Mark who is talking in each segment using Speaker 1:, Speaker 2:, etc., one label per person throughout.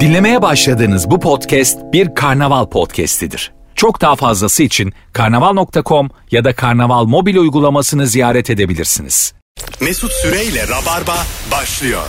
Speaker 1: Dinlemeye başladığınız bu podcast bir karnaval podcastidir. Çok daha fazlası için karnaval.com ya da karnaval mobil uygulamasını ziyaret edebilirsiniz.
Speaker 2: Mesut Süreyle Rabarba başlıyor.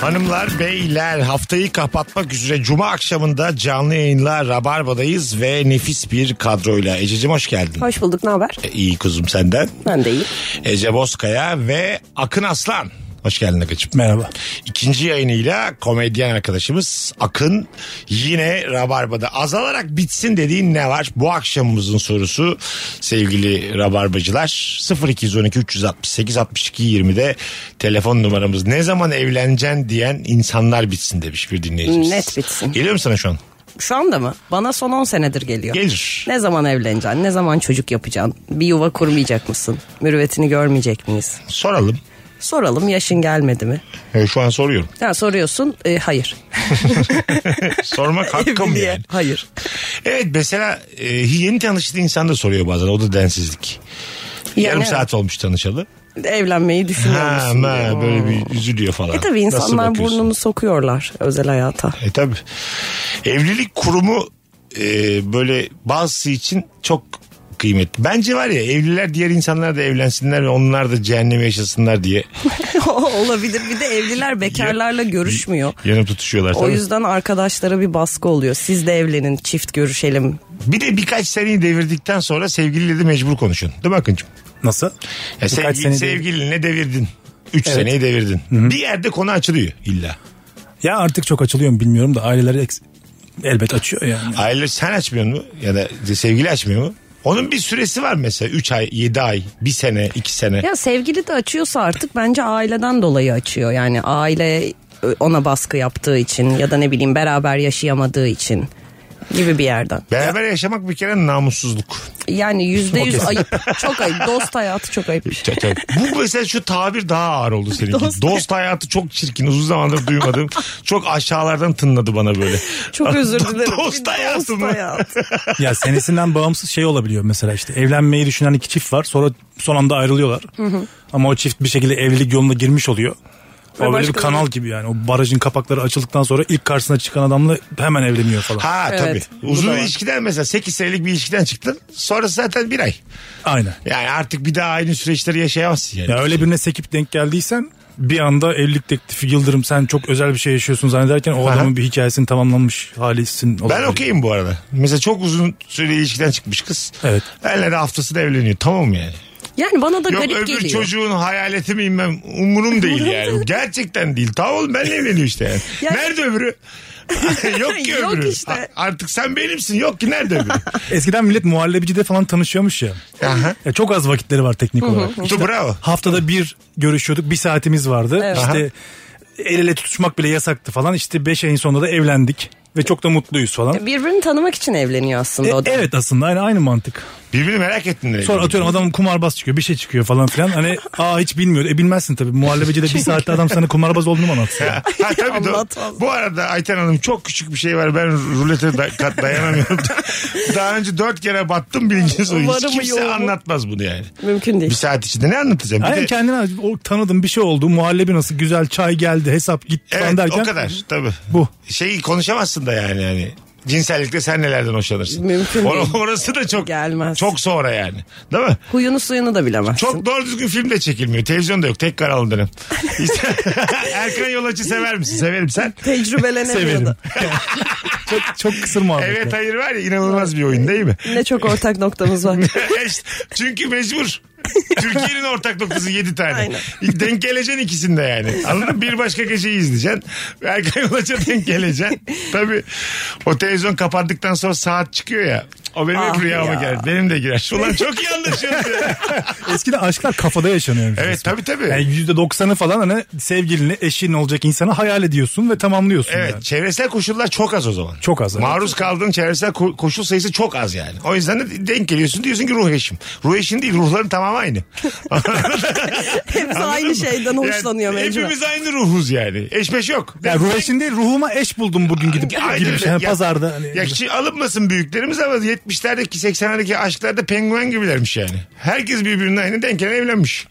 Speaker 3: Hanımlar, beyler haftayı kapatmak üzere Cuma akşamında canlı yayınla Rabarba'dayız ve nefis bir kadroyla. Ececiğim hoş geldin.
Speaker 4: Hoş bulduk ne haber?
Speaker 3: İyi kuzum senden.
Speaker 4: Ben de iyi.
Speaker 3: Ece Bozkaya ve Akın Aslan. Hoş geldin Akıncığım.
Speaker 5: Merhaba.
Speaker 3: İkinci yayınıyla komedyen arkadaşımız Akın yine Rabarba'da. Azalarak bitsin dediğin ne var? Bu akşamımızın sorusu sevgili Rabarbacılar 0212 368 62 20'de telefon numaramız. Ne zaman evleneceksin diyen insanlar bitsin demiş bir dinleyicimiz.
Speaker 4: Net bitsin.
Speaker 3: Geliyor mu sana şu an?
Speaker 4: Şu anda mı? Bana son 10 senedir geliyor.
Speaker 3: Gelir.
Speaker 4: Ne zaman evleneceksin? Ne zaman çocuk yapacaksın? Bir yuva kurmayacak mısın? Mürüvvetini görmeyecek miyiz?
Speaker 3: Soralım.
Speaker 4: Soralım yaşın gelmedi mi?
Speaker 3: E, şu an soruyorum.
Speaker 4: Ya soruyorsun e, hayır.
Speaker 3: Sormak hakkım
Speaker 4: Evliliğe
Speaker 3: yani.
Speaker 4: Hayır.
Speaker 3: Evet mesela e, yeni tanıştığı insan da soruyor bazen. O da densizlik. Yarım
Speaker 4: evet.
Speaker 3: saat olmuş tanışalı.
Speaker 4: Evlenmeyi düşünüyor
Speaker 3: Ha,
Speaker 4: musun?
Speaker 3: ha,
Speaker 4: diyor.
Speaker 3: böyle bir üzülüyor falan.
Speaker 4: E tabii
Speaker 3: Nasıl
Speaker 4: insanlar
Speaker 3: bakıyorsun?
Speaker 4: burnunu sokuyorlar özel hayata.
Speaker 3: E tabii. Evlilik kurumu e, böyle bazısı için çok kıymetli. Bence var ya evliler diğer insanlar da evlensinler ve onlar da cehennemi yaşasınlar diye
Speaker 4: Olabilir bir de evliler bekarlarla görüşmüyor.
Speaker 3: yanıp tutuşuyorlar.
Speaker 4: O
Speaker 3: tabii.
Speaker 4: yüzden arkadaşlara bir baskı oluyor. Siz de evlenin çift görüşelim.
Speaker 3: Bir de birkaç seneyi devirdikten sonra sevgiliyle de mecbur konuşun. Değil mi Akıncığım?
Speaker 5: Nasıl?
Speaker 3: Ya
Speaker 5: Birkaç
Speaker 3: sevgili,
Speaker 5: sene değil.
Speaker 3: sevgilinle devirdin. 3
Speaker 5: Evet.
Speaker 3: seneyi devirdin. Bir yerde konu açılıyor illa.
Speaker 5: Ya artık çok açılıyor mu bilmiyorum da aileler eks- elbet açıyor yani.
Speaker 3: Aile sen açmıyorsun mu? Ya da sevgili açmıyor mu? Onun bir süresi var mesela 3 ay, 7 ay, 1 sene, 2 sene.
Speaker 4: Ya sevgili de açıyorsa artık bence aileden dolayı açıyor. Yani aile e, ona baskı yaptığı için ya da ne bileyim beraber yaşayamadığı için gibi bir yerden.
Speaker 3: Beraber yaşamak bir kere namussuzluk.
Speaker 4: Yani yüzde yüz ayıp. Çok ayıp. Dost hayatı çok ayıp. bir şey.
Speaker 3: Çok- çok- Bu mesela şu tabir daha ağır oldu seninki. Dost,
Speaker 4: Dost-
Speaker 3: hayatı çok çirkin. Uzun zamandır duymadım. çok aşağılardan tınladı bana böyle.
Speaker 4: Çok özür dilerim.
Speaker 3: Dost hayatı mı?
Speaker 4: hayatı.
Speaker 5: ya senesinden bağımsız şey olabiliyor mesela işte evlenmeyi düşünen iki çift var sonra son anda ayrılıyorlar. Ama o çift bir şekilde evlilik yoluna girmiş oluyor. O
Speaker 4: Ve
Speaker 5: böyle bir
Speaker 4: başkaları-
Speaker 5: kanal gibi yani. O barajın kapakları açıldıktan sonra ilk karşısına çıkan adamla hemen evleniyor falan.
Speaker 3: Ha
Speaker 4: Evet,
Speaker 3: tabii.
Speaker 4: bu
Speaker 3: Uzun
Speaker 4: da var.
Speaker 3: ilişkiden mesela 8 senelik bir ilişkiden çıktın. Sonra zaten bir ay.
Speaker 5: Aynen.
Speaker 3: Yani artık bir daha aynı süreçleri yaşayamazsın yani.
Speaker 5: Ya öyle birine sekip denk geldiysen bir anda evlilik teklifi Yıldırım sen çok özel bir şey yaşıyorsun zannederken o adamın bir hikayesini tamamlanmış halisin.
Speaker 3: Ben
Speaker 5: olabilir.
Speaker 3: okeyim bu arada. Mesela çok uzun süre ilişkiden çıkmış kız.
Speaker 5: Evet.
Speaker 3: Benle de haftasında evleniyor. Tamam yani.
Speaker 4: Yani bana da
Speaker 3: Yok
Speaker 4: garip
Speaker 3: öbür
Speaker 4: geliyor.
Speaker 3: çocuğun hayaleti miyim ben umurum değil yani. Gerçekten değil. Tamam oğlum benle evleniyor işte yani.
Speaker 4: Yani-
Speaker 3: Nerede öbürü? yok ki
Speaker 4: Yok
Speaker 3: öbürü.
Speaker 4: işte.
Speaker 3: A- artık sen benimsin. Yok ki nerede öbürü?
Speaker 5: Eskiden millet muhallebicide falan tanışıyormuş ya.
Speaker 3: Aha.
Speaker 5: Ya E, çok az vakitleri var teknik olarak.
Speaker 3: İşte bravo.
Speaker 5: Haftada bir görüşüyorduk. Bir saatimiz vardı.
Speaker 4: Evet.
Speaker 5: İşte el ele tutuşmak bile yasaktı falan. İşte 5 ayın sonunda da evlendik. Ve çok da mutluyuz falan.
Speaker 4: Birbirini tanımak için evleniyor aslında
Speaker 5: E,
Speaker 4: o E, da.
Speaker 5: evet aslında aynı, aynı mantık.
Speaker 3: Birbirini merak ettin nereye
Speaker 5: Sonra
Speaker 3: gidiyor.
Speaker 5: atıyorum adam kumarbaz çıkıyor bir şey çıkıyor falan filan. Hani aa hiç bilmiyor. E bilmezsin tabii. Muhallebecide bir saatte adam sana kumarbaz olduğunu mu anlatsın?
Speaker 3: Ha, tabii doğru.
Speaker 4: Anlatmaz.
Speaker 3: Bu arada Ayten Hanım çok küçük bir şey var. Ben rulete da- kat- dayanamıyorum. Daha önce dört kere battım bilginiz o.
Speaker 4: Varı
Speaker 3: Hiç
Speaker 4: mı
Speaker 3: kimse
Speaker 4: yoğu mu?
Speaker 3: anlatmaz bunu yani.
Speaker 4: Mümkün
Speaker 3: Bir
Speaker 4: değil.
Speaker 3: saat içinde ne anlatacağım? Bir
Speaker 5: Aynen
Speaker 3: de-
Speaker 5: kendine o tanıdım bir şey oldu. Muhallebi nasıl güzel çay geldi hesap gitti
Speaker 3: Evet
Speaker 5: falan derken.
Speaker 3: o kadar tabii.
Speaker 5: Bu.
Speaker 3: Şeyi konuşamazsın da yani yani. Cinsellikte sen nelerden hoşlanırsın?
Speaker 4: Mümkün
Speaker 3: Or-
Speaker 4: değil.
Speaker 3: Orası da çok
Speaker 4: Gelmez.
Speaker 3: çok sonra yani. Değil mi?
Speaker 4: Huyunu suyunu da bilemezsin.
Speaker 3: Çok doğru düzgün film de çekilmiyor. Televizyon da yok. Tek kanallı dönem. İşte- Erkan Yolaç'ı sever misin? Severim sen.
Speaker 4: Tecrübelenemiyor
Speaker 5: Severim.
Speaker 4: da.
Speaker 5: çok, çok kısır muhabbet.
Speaker 3: Evet hayır var ya inanılmaz bir oyun değil mi?
Speaker 4: Ne çok ortak noktamız var.
Speaker 3: İşte, Çünkü mecbur. Türkiye'nin ortak noktası 7 tane.
Speaker 4: Aynen.
Speaker 3: Denk geleceksin ikisinde yani. Anladın mı? Bir başka geceyi izleyeceksin. Erkan Yolaç'a denk geleceksin. Tabii o televizyon kapandıktan sonra saat çıkıyor ya. O benim hep
Speaker 4: Ah
Speaker 3: rüyama
Speaker 4: ya.
Speaker 3: geldi. Benim de girer. Ulan çok iyi anlaşıyoruz ya.
Speaker 5: Eskiden aşklar kafada yaşanıyormuş.
Speaker 3: Evet,
Speaker 5: resmen.
Speaker 3: tabii, tabii.
Speaker 5: Yani %90'ı falan hani sevgilini, eşin olacak insanı hayal ediyorsun ve tamamlıyorsun.
Speaker 3: Evet
Speaker 5: yani.
Speaker 3: çevresel koşullar çok az o zaman.
Speaker 5: Çok az, evet.
Speaker 3: Maruz kaldığın çevresel ko- koşul sayısı çok az yani. O yüzden de denk geliyorsun diyorsun ki ruh eşim. Ruh eşin değil ruhların tamamı aynı.
Speaker 4: Hepsi aynı şeyden hoşlanıyor
Speaker 3: yani,
Speaker 4: mecburen.
Speaker 3: Hepimiz aynı ruhuz yani. Eşmeş yok.
Speaker 5: Yani ruh eşin değil ruhuma eş buldum bugün gidip
Speaker 3: Aynen
Speaker 5: gibi bir
Speaker 3: öyle.
Speaker 5: şey. Yani
Speaker 3: Ya-
Speaker 5: pazarda. Hani
Speaker 3: Ya kişi alınmasın büyüklerimiz ama 70'lerdeki 80'lerdeki aşklarda penguen gibilermiş yani. Herkes birbirine aynı denken evlenmiş.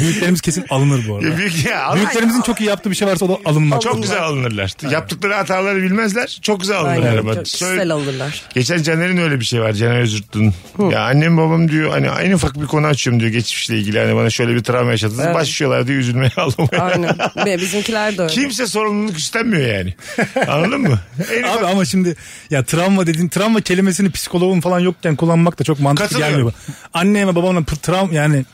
Speaker 5: Büyüklerimiz kesin alınır bu
Speaker 3: Ya
Speaker 5: arada.
Speaker 3: Büyük ya. Allah-
Speaker 5: Büyüklerimizin çok iyi yaptığı bir şey varsa o da alınmak.
Speaker 3: Çok güzel alınırlar. Yaptıkları hataları bilmezler. Çok güzel alınırlar.
Speaker 4: Aynen,
Speaker 3: ama.
Speaker 4: çok
Speaker 3: Söyle-
Speaker 4: güzel alırlar.
Speaker 3: Geçen Caner'in öyle bir şey var. Caner Özürt'ün. Ya annem babam diyor hani aynı ufak bir konu açıyorum diyor geçmişle ilgili. Hani bana şöyle bir travma yaşadınız.
Speaker 4: Evet.
Speaker 3: Başlıyorlar diyor üzülmeye ağlamaya.
Speaker 4: Aynen. Ve bizimkiler de öyle.
Speaker 3: Kimse sorumluluk üstlenmiyor yani. Anladın mı? En ufak-
Speaker 5: Abi ama şimdi ya travma dediğin travma kelimesini psikoloğun falan yokken kullanmak da çok mantıklı
Speaker 3: Katılıyorum.
Speaker 5: gelmiyor. bana. Anneme babamla pır- travma yani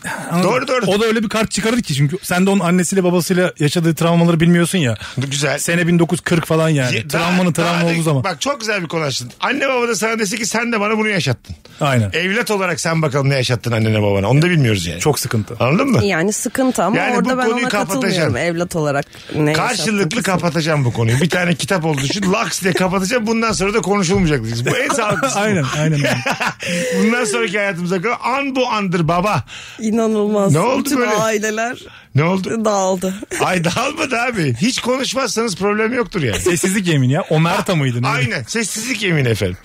Speaker 3: Doğru, doğru.
Speaker 5: O da öyle bir kart çıkarır ki çünkü sen de onun annesiyle babasıyla yaşadığı travmaları bilmiyorsun ya.
Speaker 3: Güzel.
Speaker 5: Sene 1940 falan yani.
Speaker 3: Ya, daha-
Speaker 5: Travmanın travma
Speaker 3: daha da-
Speaker 5: olduğu zaman.
Speaker 3: Bak çok güzel bir konu açtın. Anne baba da sana dese ki sen de bana bunu yaşattın.
Speaker 5: Aynen.
Speaker 3: Evlat olarak sen bakalım ne yaşattın annene babana. Onu da bilmiyoruz yani.
Speaker 5: Çok sıkıntı.
Speaker 3: Anladın mı?
Speaker 4: Yani sıkıntı ama
Speaker 3: Yani bu
Speaker 4: orada ben
Speaker 3: konuyu
Speaker 4: ona
Speaker 3: kapatacağım.
Speaker 4: katılmıyorum. Evlat olarak ne
Speaker 3: Karşılıklı
Speaker 4: yaşattın?
Speaker 3: kapatacağım bu konuyu. Bir tane kitap olduğu için laks diye kapatacağım. Bundan sonra da konuşulmayacak. diyeceğiz. Bu en sağlıklısı.
Speaker 5: aynen aynen.
Speaker 3: Bundan sonraki hayatımıza kadar an bu andır baba.
Speaker 4: İnanılmaz.
Speaker 3: Ne oldu
Speaker 4: Bütün
Speaker 3: böyle?
Speaker 4: aileler
Speaker 3: Ne oldu?
Speaker 4: dağıldı.
Speaker 3: Ay dalmadı abi. Hiç konuşmazsanız problem yoktur yani.
Speaker 5: Sessizlik yemin ya. Omerta mıydı? neydi?
Speaker 3: Aynen. Sessizlik yemin efendim.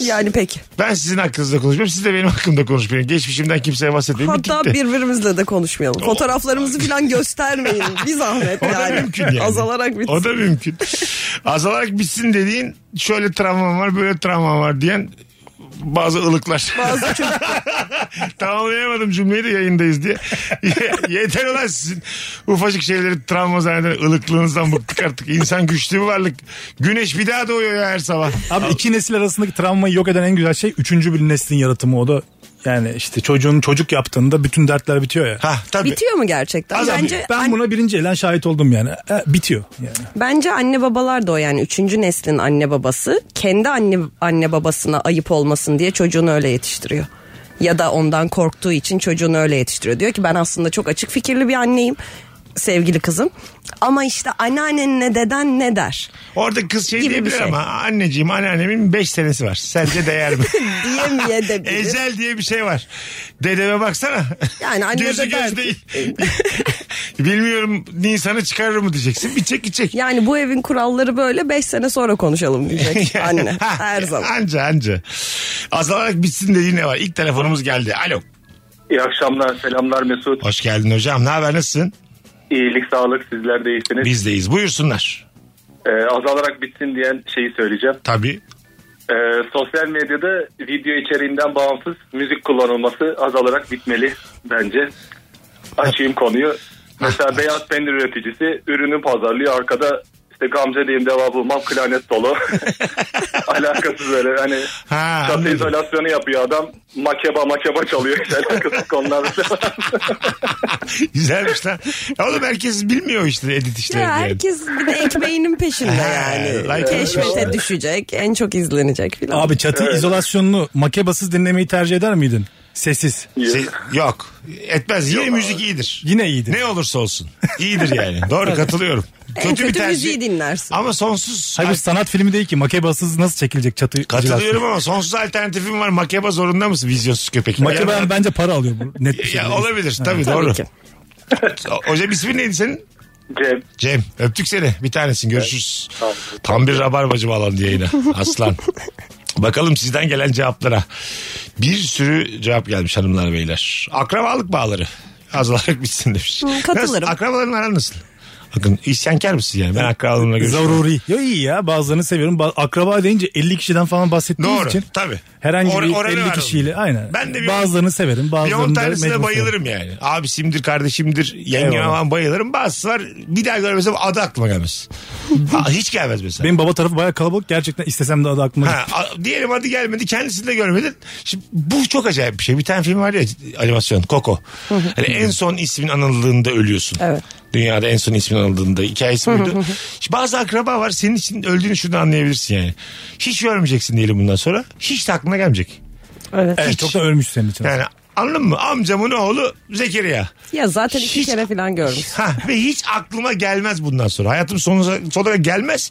Speaker 4: Yani peki.
Speaker 3: Ben sizin hakkınızda konuşmuyorum. Siz de benim hakkımda konuşmayın. Geçmişimden kimseye bahsetmeyin.
Speaker 4: Hatta
Speaker 3: Bitti.
Speaker 4: birbirimizle de konuşmayalım. Fotoğraflarımızı falan göstermeyin. Bir zahmet
Speaker 3: O da
Speaker 4: yani.
Speaker 3: mümkün yani.
Speaker 4: Azalarak bitsin.
Speaker 3: O da mümkün. Azalarak bitsin dediğin şöyle travmam var böyle travmam var diyen bazı ılıklar.
Speaker 4: Bazı çocuk
Speaker 3: Tamamlayamadım cümleyi de yayındayız diye. Ye- Yeter olan sizin ufacık şeyleri travma zanneden ılıklığınızdan bıktık artık. İnsan güçlü bir varlık. Güneş bir daha doğuyor ya her sabah.
Speaker 5: Abi iki nesil arasındaki travmayı yok eden en güzel şey üçüncü bir neslin yaratımı o da yani işte çocuğun çocuk yaptığında bütün dertler bitiyor ya.
Speaker 3: Ha tabii.
Speaker 4: bitiyor mu gerçekten?
Speaker 3: Azalıyor.
Speaker 4: Bence
Speaker 5: Ben buna birinci elen şahit oldum yani. E, bitiyor yani.
Speaker 4: Bence anne babalar da o yani üçüncü neslin anne babası kendi anne anne babasına ayıp olmasın diye çocuğunu öyle yetiştiriyor. Ya da ondan korktuğu için çocuğunu öyle yetiştiriyor. Diyor ki ben aslında çok açık fikirli bir anneyim sevgili kızım. Ama işte anneannen ne deden ne der
Speaker 3: Orada kız şey
Speaker 4: Gibi bir
Speaker 3: diyebilir
Speaker 4: şey.
Speaker 3: ama anneciğim anneannemin 5 senesi var. Sence değer mi?
Speaker 4: diyemeye de bilir.
Speaker 3: Ezel diye bir şey var. Dedeme baksana.
Speaker 4: Yani anne
Speaker 3: Gözü
Speaker 4: de
Speaker 3: göz
Speaker 4: der ki-
Speaker 3: değil. Bilmiyorum Nisan'ı çıkarır mı diyeceksin. Bir çek bir çek.
Speaker 4: Yani bu evin kuralları böyle 5 sene sonra konuşalım diyecek anne
Speaker 3: Ha,
Speaker 4: her zaman.
Speaker 3: Anca anca. Azalarak bitsin dediği ne var? İlk telefonumuz geldi. Alo.
Speaker 6: İyi akşamlar, selamlar Mesut.
Speaker 3: Hoş geldin hocam. Ne haber nasılsın?
Speaker 6: İyilik, sağlık sizler de iyisiniz.
Speaker 3: Bizdeyiz. Buyursunlar.
Speaker 6: Ee, azalarak bitsin diyen şeyi söyleyeceğim.
Speaker 3: Tabii.
Speaker 6: Ee, sosyal medyada video içeriğinden bağımsız müzik kullanılması azalarak bitmeli bence. Açayım konuyu. Mesela beyaz peynir üreticisi ürünü pazarlıyor. Arkada işte Gamze diyeyim devamı bulmam Klanet solo. Alakasız öyle hani
Speaker 3: Ha,
Speaker 6: çatı
Speaker 3: anladım.
Speaker 6: izolasyonu yapıyor adam. Makeba makeba çalıyor. Hiç Alakasız konular.
Speaker 3: Güzelmiş lan. Oğlum herkes bilmiyor işte edit işlerini.
Speaker 4: Ya
Speaker 3: yani.
Speaker 4: herkes bir de ekmeğinin peşinde
Speaker 3: Ha,
Speaker 4: yani.
Speaker 3: like-
Speaker 4: Keşfete düşecek, en çok izlenecek filan.
Speaker 5: Abi çatı izolasyonunu makebasız dinlemeyi tercih eder miydin? Sessiz.
Speaker 3: Se- Şey, yok. Etmez. Yine müzik iyidir.
Speaker 5: Yine iyiydi.
Speaker 3: Ne olursa olsun. İyidir yani. Doğru katılıyorum.
Speaker 4: en kötü
Speaker 3: tercih.
Speaker 4: müziği dinlersin.
Speaker 3: Ama sonsuz.
Speaker 5: Hayır bu sanat filmi değil ki makebasız nasıl çekilecek çatı
Speaker 3: Katılıyorum
Speaker 5: izolasyonu?
Speaker 3: ama sonsuz alternatifim var. Makeba zorunda mısın vizyonsuz köpek?
Speaker 5: Makeba
Speaker 3: Yani-
Speaker 5: bence para alıyor bu net bir şekilde.
Speaker 3: Ya olabilir tabii
Speaker 4: Tabii
Speaker 3: doğru.
Speaker 4: ki.
Speaker 3: O- Hocam ismin neydi senin?
Speaker 6: Cem
Speaker 3: Cem öptük seni bir tanesin görüşürüz. Tam bir rabarbacı bağlandı yayına aslan. Bakalım sizden gelen cevaplara. Bir sürü cevap gelmiş hanımlar beyler. Akrabalık bağları azalarak bitsin demiş.
Speaker 4: katılırım.
Speaker 3: Nasıl? Akrabaların aran nasıl? Bakın isyankar mısın yani? Ben akrabalarımla görüşmüyorum.
Speaker 5: Zaruri. Ya iyi ya bazılarını seviyorum. Ba- Akraba deyince 50 kişiden falan bahsettiğimiz
Speaker 3: Doğru
Speaker 5: için.
Speaker 3: tabii.
Speaker 5: Herhangi
Speaker 3: Or-
Speaker 5: bir
Speaker 3: oranı
Speaker 5: 50
Speaker 3: var
Speaker 5: kişiyle
Speaker 3: onun.
Speaker 5: aynen.
Speaker 3: Ben de bir-
Speaker 5: bazılarını severim
Speaker 3: Bir
Speaker 5: bazılarını
Speaker 3: on
Speaker 5: da
Speaker 3: tanesine
Speaker 5: mecbur
Speaker 3: bayılırım yani. Abisimdir, kardeşimdir, yengem
Speaker 5: Eyvallah.
Speaker 3: falan bayılırım. Bazısı var bir daha görmesem adı aklıma gelmez. Ha, hiç gelmez mesela.
Speaker 5: Benim baba tarafı bayağı kalabalık. Gerçekten istesem de adı aklıma
Speaker 3: Ha, a- diyelim adı gelmedi kendisini de görmedin. Şimdi bu çok acayip bir şey. Bir tane film var ya animasyon Coco. Hani en son ismin anıldığında ölüyorsun.
Speaker 4: Evet.
Speaker 3: Dünyada en son ismin anıldığında hikayesi buydu. Şimdi bazı akraba var senin için öldüğünü şurada anlayabilirsin yani. Hiç görmeyeceksin diyelim bundan sonra. Hiç de aklına gelmeyecek.
Speaker 4: Evet.
Speaker 5: Evet, çok da ölmüş senin için.
Speaker 3: Yani anladın mı? Amcamın oğlu Zekeriya.
Speaker 4: Ya zaten iki
Speaker 3: Hiç-
Speaker 4: kere falan görmüş.
Speaker 3: Ha, ve hiç aklıma gelmez bundan sonra. Hayatım sonuna, sonuna gelmez.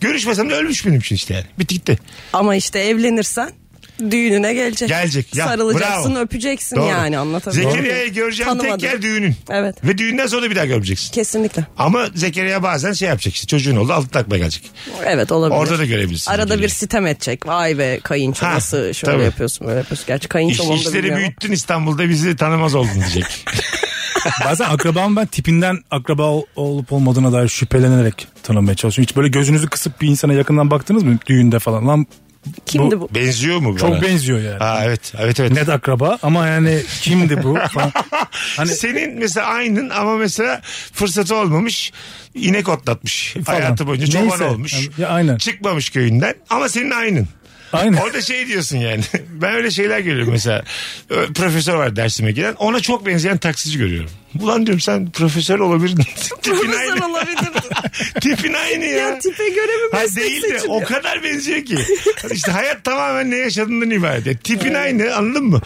Speaker 3: Görüşmesem de ölmüş benim için işte yani. Bitti gitti.
Speaker 4: Ama işte evlenirsen Düğününe gelecek.
Speaker 3: Gelecek. Ya,
Speaker 4: Sarılacaksın
Speaker 3: bravo.
Speaker 4: öpeceksin
Speaker 3: Doğru.
Speaker 4: yani anlatabiliyor muyum?
Speaker 3: Zekeriya'yı göreceğim
Speaker 4: Tanımadım.
Speaker 3: tek yer düğünün.
Speaker 4: Evet.
Speaker 3: Ve düğünden sonra bir daha görmeyeceksin.
Speaker 4: Kesinlikle.
Speaker 3: Ama Zekeriya bazen şey yapacak işte çocuğun oldu altı takma gelecek.
Speaker 4: Evet olabilir.
Speaker 3: Orada da görebilirsin.
Speaker 4: Arada
Speaker 3: Zekeriya.
Speaker 4: bir sitem edecek. Vay be kayınço
Speaker 3: Ha,
Speaker 4: nasıl şöyle
Speaker 3: tabii.
Speaker 4: yapıyorsun böyle yapıyorsun. Gerçi kayınço
Speaker 3: İş,
Speaker 4: onu da
Speaker 3: işleri
Speaker 4: bilmiyorum.
Speaker 3: büyüttün İstanbul'da bizi tanımaz oldun diyecek.
Speaker 5: Bazen akrabamı ben tipinden akraba ol- olup olmadığına dair şüphelenerek tanımaya çalışıyorum. Hiç böyle gözünüzü kısıp bir insana yakından baktınız mı düğünde falan? Lan
Speaker 4: Kimdi bu?
Speaker 3: Benziyor mu
Speaker 5: çok
Speaker 3: bana?
Speaker 5: benziyor yani.
Speaker 3: Ha, evet evet evet.
Speaker 5: Net akraba ama yani kimdi bu falan. Hani
Speaker 3: Senin mesela aynın ama mesela fırsatı olmamış inek otlatmış
Speaker 5: Falan.
Speaker 3: hayatı boyunca çoban
Speaker 5: Neyse.
Speaker 3: olmuş.
Speaker 5: Ya, aynen.
Speaker 3: Çıkmamış köyünden ama senin aynın.
Speaker 5: aynen.
Speaker 3: Orada şey diyorsun yani. Ben öyle şeyler görüyorum mesela. Ö, Profesör var dersime giren. Ona çok benzeyen taksici görüyorum. Ulan diyorum sen profesör olabilirdin. tipin
Speaker 4: Profesör
Speaker 3: aynı.
Speaker 4: olabilir.
Speaker 3: tipin aynı ya.
Speaker 4: ya tipe göre mi
Speaker 3: Ha
Speaker 4: meslek
Speaker 3: değil de
Speaker 4: seçiliyor?
Speaker 3: o kadar benziyor ki. Hani işte hayat tamamen ne yaşadığından ibaret. Ya tipin aynı anladın mı?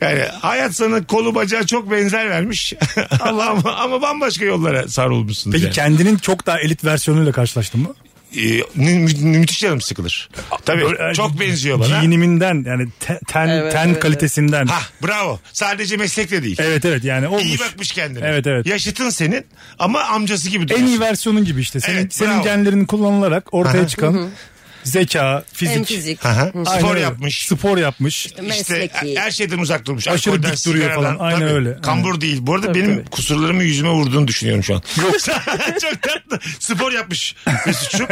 Speaker 3: Yani hayat sana kolu bacağı çok benzer vermiş. Allah ama, ama bambaşka yollara sarılmışsın.
Speaker 5: Peki
Speaker 3: yani.
Speaker 5: kendinin çok daha elit versiyonuyla karşılaştın mı?
Speaker 3: Ee, mü- mü- müthiş canım sıkılır. Tabii
Speaker 5: Böyle- e,
Speaker 3: çok benziyor bana.
Speaker 5: Giyiniminden yani te- ten,
Speaker 4: Evet,
Speaker 5: ten
Speaker 4: evet,
Speaker 5: kalitesinden.
Speaker 3: Ha bravo. Sadece meslekle değil.
Speaker 5: Evet evet yani olmuş.
Speaker 3: İyi bakmış kendine.
Speaker 5: Evet evet.
Speaker 3: Yaşıtın senin ama amcası gibi
Speaker 5: en
Speaker 3: duruyorsun.
Speaker 5: iyi versiyonun gibi işte. Senin,
Speaker 3: Evet,
Speaker 5: senin
Speaker 3: bravo.
Speaker 5: genlerin kullanılarak ortaya çıkan zeka, fizik.
Speaker 4: Hem fizik.
Speaker 3: Aha.
Speaker 5: Aynen
Speaker 3: Spor
Speaker 5: öyle.
Speaker 3: yapmış.
Speaker 5: Spor yapmış.
Speaker 3: İşte
Speaker 4: Mesleki.
Speaker 3: her şeyden uzak durmuş.
Speaker 5: Aşırı
Speaker 3: Alkolden,
Speaker 5: dik duruyor
Speaker 3: sigaradan.
Speaker 5: falan. Aynen
Speaker 3: Tabii.
Speaker 5: öyle.
Speaker 3: Kambur değil. Bu arada benim kusurlarımı yüzüme vurduğunu düşünüyorum şu an. Yok. Çok tatlı. Spor yapmış Mesut'cum.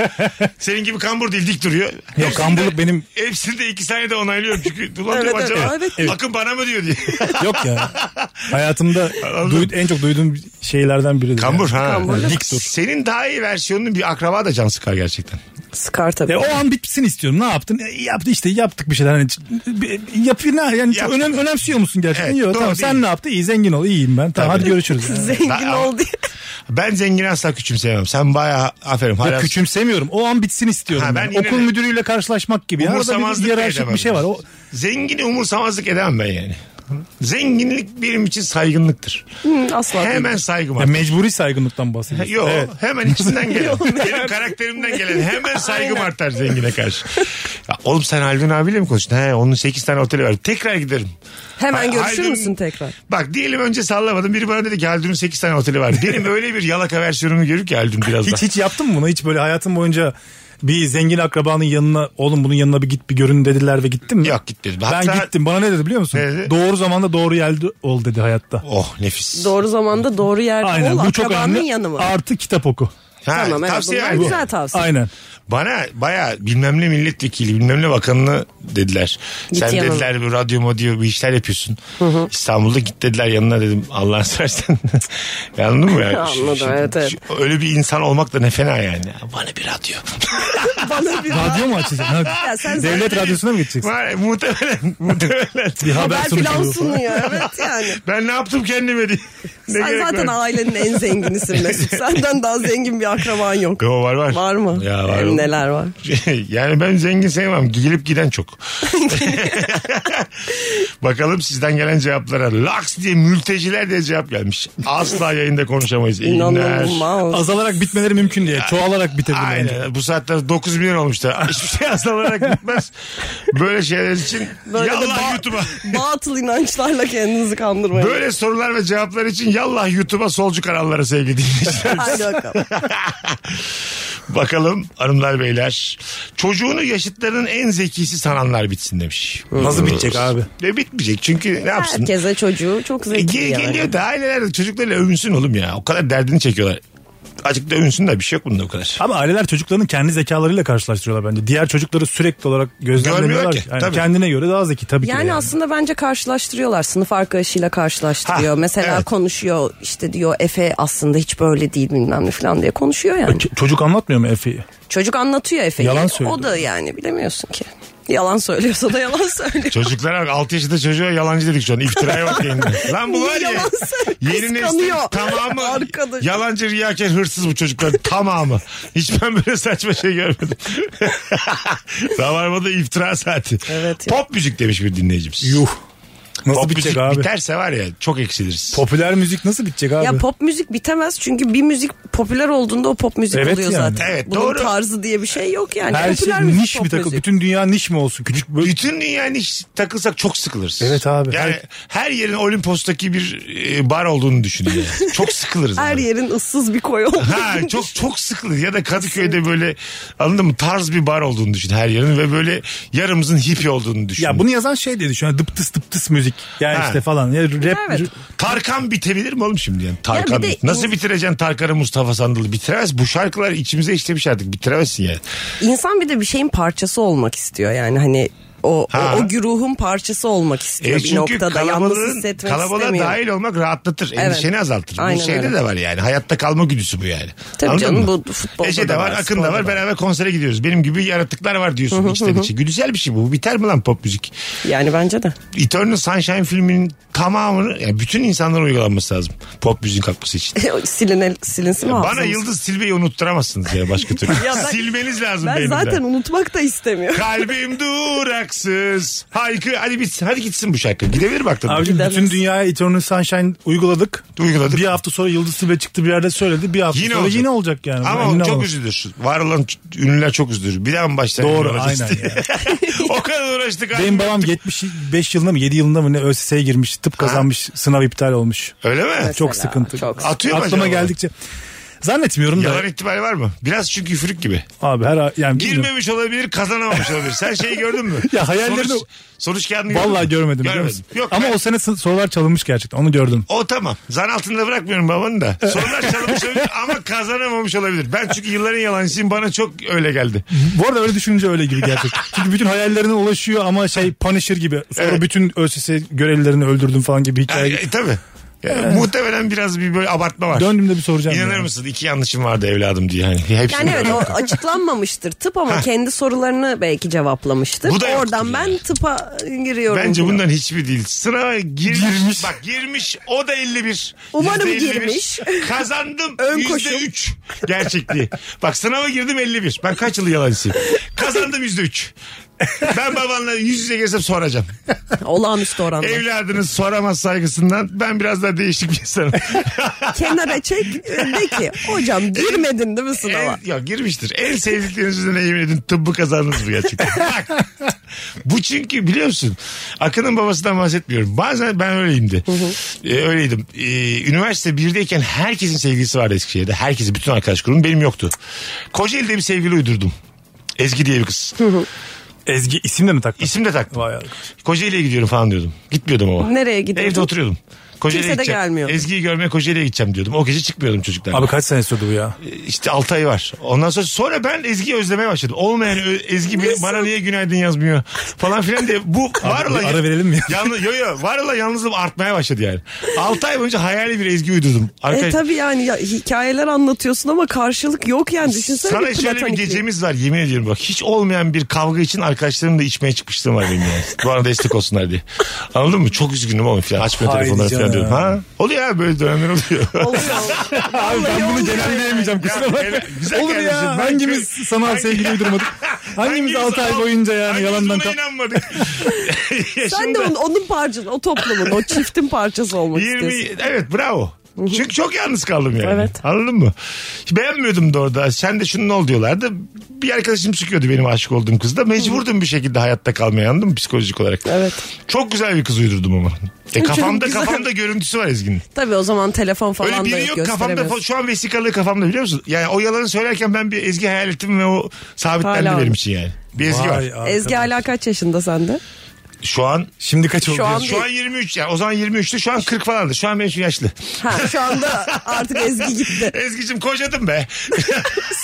Speaker 3: Senin gibi kambur değil dik duruyor. Hepsini
Speaker 5: Yok kamburluk
Speaker 3: de-
Speaker 5: benim
Speaker 3: Hepsini de iki saniyede onaylıyorum çünkü. Ulan
Speaker 4: Evet,
Speaker 3: diyorum
Speaker 4: evet,
Speaker 3: acaba
Speaker 4: evet.
Speaker 3: bakın bana mı diyor diye.
Speaker 5: yok ya. Hayatımda duy- en çok duyduğum şeylerden biridir.
Speaker 3: Kambur
Speaker 5: yani.
Speaker 3: ha.
Speaker 4: Kambur.
Speaker 3: Yani Dik dur. Senin daha iyi versiyonunun bir akraba da can sıkar gerçekten.
Speaker 4: Sıkar tabii.
Speaker 5: E, o an bitsin istiyorum. Ne yaptın? E, yaptı işte yaptık bir şeyler. Hani, yapıyor ne? Yani çok
Speaker 3: Yaptık.
Speaker 5: önem, önemsiyor musun gerçekten?
Speaker 3: Evet,
Speaker 5: Yok
Speaker 3: doğru
Speaker 5: tamam
Speaker 3: değil.
Speaker 5: sen ne yaptın? İyi zengin ol. İyiyim ben. Tamam
Speaker 3: Tabii.
Speaker 5: hadi görüşürüz. Yani.
Speaker 4: Zengin
Speaker 3: Ben-
Speaker 4: ol diye.
Speaker 3: Ben zengini asla küçümseyemem. Sen bayağı aferin.
Speaker 5: Yok,
Speaker 3: Hala
Speaker 5: küçümsemiyorum. O an bitsin istiyorum.
Speaker 3: Ha, ben
Speaker 5: yani.
Speaker 3: yine
Speaker 5: Okul
Speaker 3: de-
Speaker 5: müdürüyle karşılaşmak gibi. Yani Arada bir
Speaker 3: umursamazlık da
Speaker 5: hiyerarşik
Speaker 3: edemem.
Speaker 5: bir şey var. O,
Speaker 3: Zengini umursamazlık edemem ben yani. Zenginlik benim için saygınlıktır.
Speaker 4: Hı, Asla değil.
Speaker 3: Hemen saygım
Speaker 5: Ya
Speaker 3: var.
Speaker 5: mecburi saygınlıktan bahsediyorsun.
Speaker 3: Yok
Speaker 5: Evet.
Speaker 3: hemen içinden gelen. benim karakterimden gelen hemen saygım artar zengine karşı. Ya oğlum sen Haldun abiyle mi konuştun? He onun 8 tane oteli var. Tekrar giderim. Ha-
Speaker 4: Hemen görüşür
Speaker 3: Haldun-
Speaker 4: müsün tekrar?
Speaker 3: Bak diyelim önce sallamadım. Biri bana dedi ki Haldun'un 8 tane oteli var. Benim öyle bir yalaka versiyonumu görür ki Haldun biraz
Speaker 5: Hiç hiç yaptın mı bunu? Hiç böyle hayatın boyunca bir zengin akrabanın yanına oğlum bunun yanına bir git bir görün dediler ve gittin mi?
Speaker 3: Yok, gitmedim.
Speaker 5: ben
Speaker 3: Hatta-
Speaker 5: gittim. Bana ne dedi biliyor musun?
Speaker 3: Ne dedi?
Speaker 5: Doğru zamanda doğru yerde ol dedi hayatta.
Speaker 3: Oh nefis.
Speaker 4: Doğru zamanda doğru yerde
Speaker 5: Aynen
Speaker 4: ol.
Speaker 5: bu çok
Speaker 4: akrabanın
Speaker 5: önemli.
Speaker 4: yanı mı?
Speaker 5: Artı kitap oku.
Speaker 3: Ha,
Speaker 4: Tamam, evet,
Speaker 3: tavsiye
Speaker 4: bunlar
Speaker 3: verdim.
Speaker 4: güzel tavsiye.
Speaker 5: Aynen.
Speaker 3: Bana baya bilmem ne milletvekili bilmem ne bakanını dediler.
Speaker 4: Git
Speaker 3: Sen
Speaker 4: yanına.
Speaker 3: dediler bu radyo modyo bir işler yapıyorsun. İstanbul'da git dediler yanına dedim. Allah'ını seversen. Anladın mı? Yani? Şu-
Speaker 4: Anladım,
Speaker 3: şu-
Speaker 4: evet, evet.
Speaker 3: şu- öyle bir insan olmak da ne fena yani. Bana bir radyo.
Speaker 4: Bana bir
Speaker 5: Radyo mu açacaksın? Hadi.
Speaker 4: Ya sen
Speaker 5: Devlet
Speaker 4: zaten-
Speaker 5: radyosuna mı gideceksin?
Speaker 3: Var, muhtemelen. muhtemelen.
Speaker 5: Bir haber,
Speaker 4: haber
Speaker 5: sunucu
Speaker 4: filan
Speaker 5: oluyor falan.
Speaker 4: sunuyor. Evet yani.
Speaker 3: ben ne yaptım kendime diye. Ne
Speaker 4: Sen
Speaker 3: gerek
Speaker 4: zaten
Speaker 3: var?
Speaker 4: ailenin en zenginisin Mesut. Senden daha zengin bir akraban yok.
Speaker 3: Yo, var var.
Speaker 4: Var mı?
Speaker 3: Ya var.
Speaker 4: Hem neler var.
Speaker 3: yani ben zengin sevmem. Gelip giden çok. Bakalım sizden gelen cevaplara. Laks diye mülteciler diye cevap gelmiş. Asla yayında konuşamayız. İyi günler.
Speaker 4: İnanılmaz.
Speaker 5: Azalarak bitmeleri mümkün diye. Çoğalarak bitebilir bence.
Speaker 3: Aynen. Bu saatte 9 milyon olmuşlar. Hiçbir şey azalarak gitmez. Böyle şeyler için
Speaker 4: Böyle de
Speaker 3: yallah
Speaker 4: ba-
Speaker 3: YouTube'a.
Speaker 4: Batıl inançlarla kendinizi kandırmayın.
Speaker 3: Böyle sorular ve cevaplar için yallah YouTube'a solcu kanallara sevgili dinleyiciler.
Speaker 4: Haydi bakalım.
Speaker 3: Bakalım hanımlar beyler. Çocuğunu yaşıtlarının en zekisi sananlar bitsin demiş.
Speaker 5: Nasıl bitecek abi?
Speaker 3: Ne bitmeyecek çünkü ne yapsın?
Speaker 4: Herkese çocuğu çok
Speaker 3: E,
Speaker 4: zeki
Speaker 3: geri
Speaker 4: yani.
Speaker 3: geliyor da aileler de çocuklarıyla övünsün oğlum ya. O kadar derdini çekiyorlar. Azıcık da övünsün de bir şey yok bunda o kadar.
Speaker 5: Ama aileler çocuklarının kendi zekalarıyla karşılaştırıyorlar bence. Diğer çocukları sürekli olarak
Speaker 3: Görmüyor
Speaker 5: gözlemlemiyorlar.
Speaker 3: ki,
Speaker 5: ki. Yani
Speaker 3: tabii.
Speaker 5: kendine göre daha zeki tabii ki. de
Speaker 4: Yani aslında bence karşılaştırıyorlar. Sınıf arkadaşıyla karşılaştırıyor.
Speaker 3: Ha,
Speaker 4: Mesela
Speaker 3: evet.
Speaker 4: konuşuyor işte diyor Efe aslında hiç böyle değil bilmem ne falan diye konuşuyor yani.
Speaker 5: Ç- E, Çocuk anlatmıyor mu Efe'yi?
Speaker 4: Çocuk anlatıyor Efe'yi.
Speaker 5: Yalan söylüyor.
Speaker 4: O da yani bilemiyorsun ki. Yalan söylüyorsa da yalan söylüyor.
Speaker 3: Çocuklara bak 6 yaşında çocuğa yalancı dedik şu an. İftiraya bak yayında. Lan bu
Speaker 4: Niye
Speaker 3: var ya.
Speaker 4: yalan söylüyor?
Speaker 3: Yeni neslin
Speaker 4: Kıskanıyor.
Speaker 3: tamamı
Speaker 4: Arkadaş.
Speaker 3: yalancı riyakar hırsız bu çocuklar tamamı. Hiç ben böyle saçma şey görmedim. Rabarba'da iftira saati.
Speaker 4: Evet ya.
Speaker 3: Pop müzik demiş bir dinleyicimiz.
Speaker 5: Yuh. Nasıl
Speaker 3: Pop
Speaker 5: bitecek
Speaker 3: müzik
Speaker 5: abi?
Speaker 3: biterse var ya çok eksiliriz.
Speaker 5: Popüler müzik nasıl bitecek abi?
Speaker 4: Ya pop müzik bitemez çünkü bir müzik popüler olduğunda o pop müzik
Speaker 5: Evet
Speaker 4: oluyor
Speaker 5: yani.
Speaker 4: zaten.
Speaker 3: Evet,
Speaker 4: Bunun
Speaker 3: doğru.
Speaker 4: tarzı diye bir şey yok yani.
Speaker 5: Her
Speaker 4: popüler
Speaker 5: şey
Speaker 4: müzik
Speaker 5: niş
Speaker 4: pop
Speaker 5: bir takım.
Speaker 4: müzik.
Speaker 5: Bütün dünya niş mi olsun? Küçük böyle
Speaker 3: Bütün dünyanın iş takılsak çok sıkılırız.
Speaker 5: Evet abi.
Speaker 3: Yani
Speaker 5: Her-
Speaker 3: her yerin Olimpos'taki bir e, bar olduğunu düşünün. yani. çok sıkılırız.
Speaker 4: Her
Speaker 3: yani.
Speaker 4: yerin ıssız bir koy olduğunu
Speaker 3: Ha çok çok sıkılır ya da Kadıköy'de böyle anladın mı tarz bir bar olduğunu düşün her yerin ve böyle yarımızın hippie olduğunu düşün.
Speaker 5: Ya bunu yazan şey diye düşün. Dıp tıs dıp tıs müzik. Yani
Speaker 3: Ha.
Speaker 5: işte falan. Ya rap.
Speaker 4: Evet.
Speaker 3: Tarkan bitebilir mi oğlum şimdi yani? Tarkan.
Speaker 4: bir de-
Speaker 3: Nasıl bitireceksin Tarkan'ı Mustafa Sandal'ı? Bitiremez. Bu şarkılar içimize işlemiş artık. Bitiremezsin yani.
Speaker 4: İnsan bir de bir şeyin parçası olmak istiyor yani hani o,
Speaker 3: Ha.
Speaker 4: o, o güruhun parçası olmak
Speaker 3: E
Speaker 4: istiyor bir
Speaker 3: çünkü
Speaker 4: noktada. Yalnız
Speaker 3: kalabalığın,
Speaker 4: hissetmek
Speaker 3: kalabalığa
Speaker 4: istemiyor.
Speaker 3: dahil olmak rahatlatır.
Speaker 4: Evet.
Speaker 3: Endişeni azaltır.
Speaker 4: Aynen
Speaker 3: bu şeyde
Speaker 4: öyle.
Speaker 3: de var yani. Hayatta kalma güdüsü bu yani.
Speaker 4: Tabii canım, bu futbolda
Speaker 3: Ece de
Speaker 4: da
Speaker 3: var,
Speaker 4: var,
Speaker 3: Akın da
Speaker 4: sporda
Speaker 3: var.
Speaker 4: da
Speaker 3: Beraber konsere gidiyoruz. Benim gibi yaratıklar var diyorsun içten içe. Güdüsel bir şey bu. Bu Biter mi lan pop müzik?
Speaker 4: Yani bence de.
Speaker 3: Eternal Sunshine filminin tamamını yani bütün insanlara uygulanması lazım. Pop müziğin kalkması için.
Speaker 4: Siline, silinsin mi
Speaker 3: Bana
Speaker 4: hafızamız?
Speaker 3: Yıldız Silve'yi unutturamazsınız ya başka türlü.
Speaker 4: Ya ben-
Speaker 3: Silmeniz lazım
Speaker 4: Ben
Speaker 3: beynimden.
Speaker 4: zaten unutmak da istemiyorum.
Speaker 3: Kalbim duraksız. Haykı hadi bitsin. Hadi gitsin bu şarkı. Gidebilir bak tabii.
Speaker 5: Abicim
Speaker 4: Gidemez.
Speaker 5: bütün dünyaya Eternal Sunshine uyguladık.
Speaker 3: Uyguladık.
Speaker 5: Bir hafta sonra Yıldız Tilbe çıktı bir yerde söyledi. Bir hafta
Speaker 3: Yine
Speaker 5: sonra
Speaker 3: olacak.
Speaker 5: yine olacak yani.
Speaker 3: Ama
Speaker 5: Emin
Speaker 3: çok
Speaker 5: olamam.
Speaker 3: üzülür. Var olan ç- ünlüler çok üzülür. Bir daha mı başlar?
Speaker 5: Doğru,
Speaker 3: Olacağız
Speaker 5: aynen
Speaker 3: diye. o kadar uğraştık.
Speaker 5: Benim
Speaker 3: abi.
Speaker 5: babam 75 yılında mı 7 yılında mı ne ÖSS'ye girmiş tıp kazanmış sınav iptal olmuş.
Speaker 3: Öyle mi?
Speaker 5: Çok
Speaker 4: Mesela,
Speaker 5: sıkıntı.
Speaker 4: çok sıkıntı.
Speaker 3: Atıyor mu
Speaker 5: Aklıma
Speaker 3: acaba?
Speaker 5: geldikçe. Zannetmiyorum da
Speaker 3: Yalan ihtimali var mı? Biraz çünkü üfürük gibi.
Speaker 5: abi her yani bilmiyorum.
Speaker 3: Girmemiş olabilir, kazanamamış olabilir. Sen şeyi gördün mü?
Speaker 5: Ya hayallerini-
Speaker 3: Sonuç, sonuç kağıdını gördün mü?
Speaker 5: Vallahi görmedim biliyor
Speaker 3: Görmedim.
Speaker 5: musun?
Speaker 3: Yok,
Speaker 5: Ama
Speaker 3: ben-
Speaker 5: o sene sı- sorular çalınmış gerçekten onu gördüm.
Speaker 3: O tamam. Zan altında bırakmıyorum babanı da. Sorular çalınmış olabilir ama kazanamamış olabilir. Ben çünkü yılların yalancısıyım. Bana çok öyle geldi.
Speaker 5: Bu arada öyle düşününce öyle gibi gerçekten. Çünkü bütün hayallerine ulaşıyor ama şey Punisher gibi. Sonra
Speaker 3: Evet.
Speaker 5: bütün ÖSS görevlilerini öldürdüm falan gibi
Speaker 3: Ha,
Speaker 5: hikaye.
Speaker 3: e, tabii. Ya, Muhtemelen biraz bir böyle abartma var.
Speaker 5: Döndüğümde bir soracağım.
Speaker 3: İnanır
Speaker 5: yani.
Speaker 3: mısın? İki yanlışım vardı evladım diye. Hani hepsini
Speaker 4: Yani evet o
Speaker 3: bırak.
Speaker 4: açıklanmamıştır tıp ama kendi sorularını belki cevaplamıştır.
Speaker 3: Bu da yoktur
Speaker 4: Oradan ben
Speaker 3: yani.
Speaker 4: tıpa giriyorum.
Speaker 3: Bence
Speaker 4: diyor.
Speaker 3: bundan hiçbir değil. Sınava girmiş.
Speaker 5: Girmiş.
Speaker 3: Bak girmiş. O da 51.
Speaker 4: Umarım
Speaker 3: %51.
Speaker 4: girmiş.
Speaker 3: Kazandım.
Speaker 4: Ön
Speaker 3: yüzde
Speaker 4: koşul.
Speaker 3: %3 gerçekliği. Bak sınava girdim 51. Ben kaç yıl yalancısıyım. Kazandım %3. Ben babanla yüz yüze gelsem soracağım.
Speaker 4: Olağanüstü oranda.
Speaker 3: Evladınız soramaz saygısından ben biraz daha değişik bir insanım.
Speaker 4: Kenara çek de ki hocam girmedin değil mi sınava?
Speaker 3: En- ya girmiştir. En sevdikleriniz üzerine yemin edin tıbbı kazandınız bu gerçekten. Bak. Bu çünkü biliyor musun? Akın'ın babasından bahsetmiyorum. Bazen ben öyleyimdi. Ee, öyleydim. Ee, üniversite 1'deyken herkesin sevgilisi vardı Eskişehir'de. Herkesi bütün arkadaş grubum benim yoktu. Kocaeli'de bir sevgili uydurdum. Ezgi diye bir kız.
Speaker 5: Ezgi isim de mi taktın?
Speaker 3: İsim de taktım.
Speaker 5: Vay arkadaş.
Speaker 3: Kocaeli'ye gidiyorum falan diyordum. Gitmiyordum ama.
Speaker 4: Nereye gidiyordun?
Speaker 3: Evde oturuyordum. Kocaeli'ye
Speaker 4: Kimse de
Speaker 3: gideceğim.
Speaker 4: gelmiyordu.
Speaker 3: Ezgi'yi görmeye Kocaeli'ye gideceğim diyordum. O gece çıkmıyordum çocuklar.
Speaker 5: Abi kaç sene sürdü bu ya?
Speaker 3: İşte 6 ay var. Ondan sonra sonra ben Ezgi'yi özlemeye başladım. Olmayan Ö- Ezgi beni- bana niye günaydın yazmıyor falan filan diye. Bu var
Speaker 5: bir
Speaker 3: olan...
Speaker 5: ara verelim mi?
Speaker 3: Yalnız, yo yo var olan yalnızlığım artmaya başladı yani. 6 ay boyunca hayali bir Ezgi uydurdum.
Speaker 4: E
Speaker 3: Arkadaş,
Speaker 4: tabi yani ya, hikayeler anlatıyorsun ama karşılık yok yani düşünsene.
Speaker 3: sana şöyle bir
Speaker 4: platonik
Speaker 3: gecemiz var yemin ediyorum bak. Hiç olmayan bir kavga için arkadaşlarımla içmeye çıkmıştım var benim yani. Bana destek olsunlar diye. Anladın mı? Çok üzgünüm ama falan. Açmıyor
Speaker 5: Haydi
Speaker 3: telefonları falan diyorum.
Speaker 5: canım.
Speaker 3: Ha? Oluyor ya böyle dönemler oluyor.
Speaker 4: Oluyor.
Speaker 5: Abi ben bunu
Speaker 4: oluyor.
Speaker 5: genelleyemeyeceğim kusura bakma.
Speaker 3: evet, güzel
Speaker 5: Olur
Speaker 3: kardeşim.
Speaker 5: ya
Speaker 3: Ben-
Speaker 5: hangimiz sana
Speaker 3: Hangi-
Speaker 5: sevgili uydurmadık? Hangimiz 6 ay boyunca yani yalandan
Speaker 3: kap...
Speaker 5: kap...
Speaker 3: inanmadık.
Speaker 4: Sen de onun, onun parçası, o toplumun, o çiftin parçası olmak
Speaker 3: 20,
Speaker 4: istiyorsun.
Speaker 3: evet bravo. Çünkü çok yalnız kaldım yani.
Speaker 4: Evet.
Speaker 3: Anladın mı? Beğenmiyordum da orada. Sen de şunun ol diyorlardı. Bir arkadaşım sıkıyordu benim aşık olduğum kızda. Mecburdum bir şekilde hayatta kalmaya anladın mı psikolojik olarak.
Speaker 4: Evet.
Speaker 3: Çok güzel bir kız uydurdum ama. E kafamda
Speaker 4: güzel.
Speaker 3: kafamda görüntüsü var Ezgi'nin.
Speaker 4: Tabii o zaman telefon falan
Speaker 3: Öyle
Speaker 4: da
Speaker 3: biri
Speaker 4: yok,
Speaker 3: yok kafamda.
Speaker 4: gösteremiyorsun.
Speaker 3: fo- Şu an vesikalığı kafamda biliyor musun? Yani o yalanı söylerken ben bir Ezgi hayal ettim ve o sabitlendi
Speaker 4: Hala
Speaker 3: benim
Speaker 4: var.
Speaker 3: için yani. Bir Ezgi var.
Speaker 5: Vay
Speaker 4: Ezgi
Speaker 5: arkadaş.
Speaker 4: hala kaç yaşında sende?
Speaker 3: Şu an
Speaker 5: Şimdi kaç oldu?
Speaker 4: Şu an-
Speaker 3: şu an 23 yani o zaman 23'tü şu an 40 falandı. Şu an benim için yaşlı.
Speaker 4: Ha şu anda artık Ezgi gitti.
Speaker 3: Ezgi'cim kocadım be.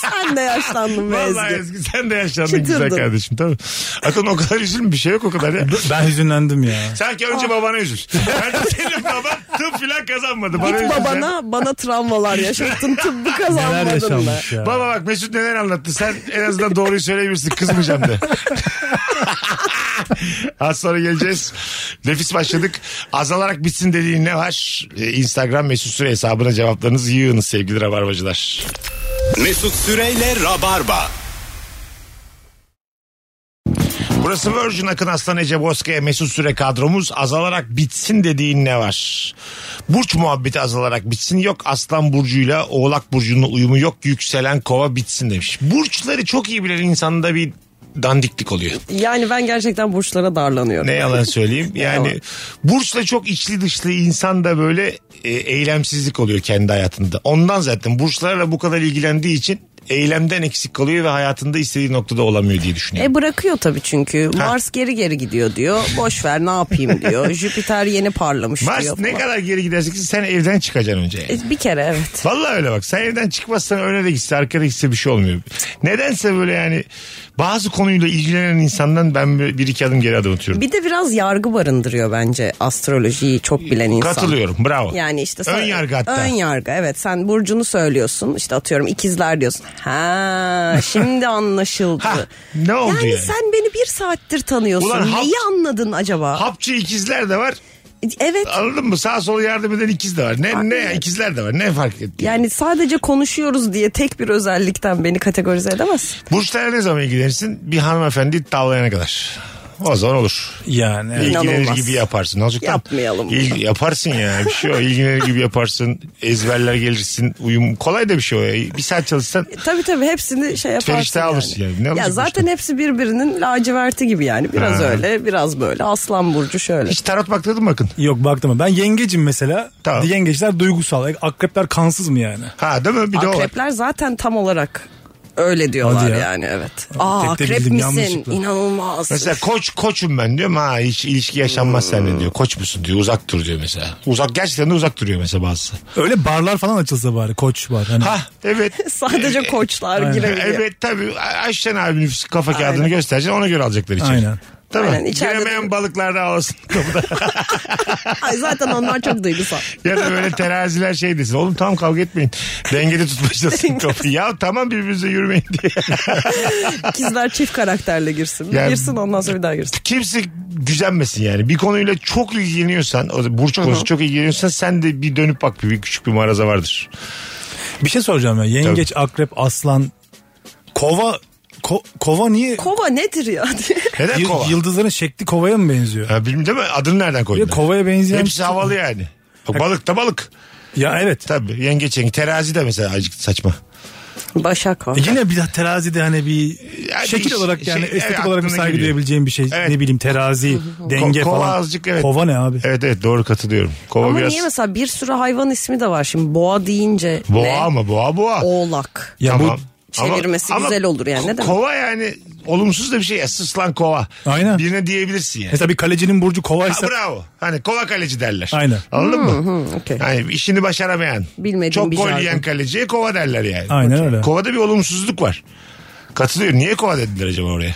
Speaker 4: Sen de yaşlandın be
Speaker 3: Vallahi
Speaker 4: Ezgi.
Speaker 3: Ezgi sen de yaşlandın
Speaker 4: Çıtırdın.
Speaker 3: güzel kardeşim tamam. Akın o kadar üzülme bir şey yok o kadar ya.
Speaker 5: Ben hüzünlendim ya.
Speaker 3: Sanki önce babana üzül. Ben de senin baban tıp filan kazanmadı. Bana
Speaker 4: Git
Speaker 3: üzül sen.
Speaker 4: babana bana travmalar yaşattın tıbbı
Speaker 5: Neler
Speaker 4: kazanmadın da.
Speaker 5: yaşanmış ya.
Speaker 3: Baba bak Mesut neler anlattı. Sen en azından doğruyu söyleyebilirsin. Kızmayacağım de. Az sonra geleceğiz. Nefis başladık. Azalarak bitsin dediğin ne var? Ee, Instagram Mesut Süre hesabına cevaplarınızı yığınız sevgili rabarbacılar.
Speaker 2: Mesut Süreyle Rabarba.
Speaker 3: Burası Virgin Akın Aslan Ece Bozkaya Mesut Süre kadromuz azalarak bitsin dediğin ne var? Burç muhabbeti azalarak bitsin yok Aslan Burcu'yla Oğlak Burcu'nun uyumu yok yükselen kova bitsin demiş. Burçları çok iyi bilen insanda bir dandiklik oluyor.
Speaker 4: Yani ben gerçekten burçlara darlanıyorum.
Speaker 3: Ne yalan söyleyeyim. Yani burçla çok içli dışlı insan da böyle e, eylemsizlik oluyor kendi hayatında. Ondan zaten burçlarla bu kadar ilgilendiği için eylemden eksik kalıyor ve hayatında istediği noktada olamıyor diye düşünüyorum.
Speaker 4: E bırakıyor tabii çünkü. Mars geri geri gidiyor diyor. Boş ver ne yapayım diyor. Jüpiter yeni parlamış diyor.
Speaker 3: Mars ne
Speaker 4: falan.
Speaker 3: kadar geri gidersin ki sen evden çıkacaksın önce. yani.
Speaker 4: E, bir kere evet.
Speaker 3: Vallahi öyle bak sen evden çıkmazsan öne de gitse arkada gitse bir şey olmuyor. Nedense böyle yani bazı konuyla ilgilenen insandan ben böyle bir iki adım geri adım atıyorum.
Speaker 4: Bir de biraz yargı barındırıyor bence astrolojiyi çok bilen insan.
Speaker 3: Katılıyorum bravo.
Speaker 4: Yani işte
Speaker 3: Ön yargı hatta.
Speaker 4: Ön yargı evet sen burcunu söylüyorsun işte atıyorum ikizler diyorsun. Ha şimdi anlaşıldı.
Speaker 3: Ha, ne oldu yani?
Speaker 4: sen beni bir saattir tanıyorsun.
Speaker 3: Ulan hap-
Speaker 4: Neyi anladın acaba?
Speaker 3: Hapçı ikizler de var.
Speaker 4: Evet
Speaker 3: Anladın mı? Sağ sola yardım eden ikiz de var. Ne, ne ya, ikizler de var. Ne fark etti?
Speaker 4: yani sadece konuşuyoruz diye tek bir özellikten beni kategorize edemezsin.
Speaker 3: Burçlara ne zaman ilgilenirsin? Bir hanımefendi tavlayana kadar. O zaman olur.
Speaker 5: Yani evet.
Speaker 3: İlgilenir
Speaker 4: İnanılmaz.
Speaker 3: gibi yaparsın. Ne olacak lan?
Speaker 4: Yapmayalım.
Speaker 3: İlgi- yaparsın ya. Bir şey o. İlgilenir gibi yaparsın. Ezberler gelirsin. Uyum. Kolay da bir şey o ya. Bir saat çalışsan
Speaker 4: Tabii tabii hepsini şey yaparsın
Speaker 3: Ferişte alırsın yani. Ne
Speaker 4: ya
Speaker 3: alacak
Speaker 4: zaten
Speaker 3: başka?
Speaker 4: hepsi birbirinin laciverti gibi yani. Biraz
Speaker 3: Ha.
Speaker 4: öyle biraz böyle. Aslan Burcu şöyle.
Speaker 3: hiç tarot baktırdın mı bakın?
Speaker 5: Yok baktım ben yengecim mesela.
Speaker 3: Tamam.
Speaker 5: Yengeçler duygusal. E, Akrepler kansız mı yani?
Speaker 3: Ha değil mi? Bir de o var.
Speaker 4: Akrepler zaten tam olarak öyle diyorlar
Speaker 5: Hadi ya.
Speaker 4: yani evet.
Speaker 5: Tek
Speaker 4: Aa
Speaker 5: de
Speaker 4: akrep
Speaker 5: bildim,
Speaker 4: misin?
Speaker 5: yanlışlıkla.
Speaker 4: İnanılmaz.
Speaker 3: Mesela koç koçum ben diyorum ha hiç ilişki yaşanmaz
Speaker 4: Hmm.
Speaker 3: seninle diyor. Koç musun diyor uzak dur diyor mesela. Uzak gerçekten de uzak duruyor mesela bazısı.
Speaker 5: Öyle barlar falan açılsa bari koç var. Hani
Speaker 3: Ha evet. E,
Speaker 4: Sadece koçlar
Speaker 5: Aynen.
Speaker 4: girebiliyor.
Speaker 3: Evet tabii. Ayşen abi nüfus kafa kağıdını göstereceksin ona göre alacaklar içeri.
Speaker 5: Aynen.
Speaker 3: Tabii.
Speaker 4: Aynen, içeride
Speaker 3: Giremeyen balıklar da alsın kapıda.
Speaker 4: Ay zaten onlar çok duygusal.
Speaker 3: ya da böyle teraziler şey desin. Oğlum tam kavga etmeyin. Dengede tutmayacaksın kapıyı. Ya tamam birbirinize yürümeyin diye.
Speaker 4: İkizler çift karakterle girsin. Bir
Speaker 3: Yani-
Speaker 4: girsin ondan sonra bir daha girsin.
Speaker 3: Kimse gücenmesin yani. Bir konuyla çok ilgileniyorsan, o da burç konusu çok ilgileniyorsan sen de bir dönüp bak bir, bir küçük bir maraza vardır.
Speaker 5: Bir şey soracağım ya. Yengeç, akrep, aslan, kova. ko- kova niye?
Speaker 4: Kova nedir ya?
Speaker 3: Neden
Speaker 5: Yıl-
Speaker 3: kova?
Speaker 5: Yıldızların şekli kovaya mı benziyor?
Speaker 3: Ha, bilmiyorum değil mi? Adını nereden koydun?
Speaker 5: Ya kovaya benzeyen. şey.
Speaker 3: Hepsi havalı yani. Bak, Balık da balık.
Speaker 5: Ya evet.
Speaker 3: Tabii yengeç yengeç. Terazi de mesela azıcık saçma.
Speaker 4: Başak var.
Speaker 5: E Yine bir de terazide hani bir
Speaker 3: Yani
Speaker 5: şekil
Speaker 3: iş-
Speaker 5: olarak yani
Speaker 3: şey,
Speaker 5: estetik
Speaker 3: evet,
Speaker 5: olarak bir
Speaker 3: aklına
Speaker 5: saygı
Speaker 3: geliyor.
Speaker 5: duyabileceğim bir şey.
Speaker 3: Evet.
Speaker 5: Ne bileyim terazi, denge
Speaker 3: Ko- kova
Speaker 5: falan.
Speaker 3: azıcık evet.
Speaker 5: Kova ne abi?
Speaker 3: Evet evet doğru katılıyorum. Kova
Speaker 4: Ama
Speaker 3: biraz...
Speaker 4: niye mesela bir sürü hayvan ismi de var şimdi. Boğa deyince
Speaker 3: Boğa
Speaker 4: ne?
Speaker 3: ama boğa boğa.
Speaker 4: Oğlak.
Speaker 5: Ya
Speaker 3: Tamam. Ama-
Speaker 4: Çevirmesi
Speaker 3: ama
Speaker 4: güzel olur yani. Ne demek?
Speaker 3: Kova yani olumsuz da bir şey. Esas lan kova.
Speaker 5: Aynen.
Speaker 3: Birine diyebilirsin yani.
Speaker 5: Mesela bir kalecinin burcu
Speaker 3: Ha,
Speaker 5: kovaysa
Speaker 3: bravo. Hani kova kaleci derler.
Speaker 5: Aynen.
Speaker 3: Anladın mı?
Speaker 4: okey.
Speaker 3: Yani işini başaramayan.
Speaker 4: Bilmediğim
Speaker 3: çok
Speaker 4: bir
Speaker 3: gol
Speaker 4: jargon.
Speaker 3: yiyen kaleciye kova derler yani.
Speaker 5: Aynen
Speaker 3: Okey.
Speaker 5: öyle.
Speaker 3: Kovada bir olumsuzluk var. Katılıyor. Niye kova dediler acaba oraya?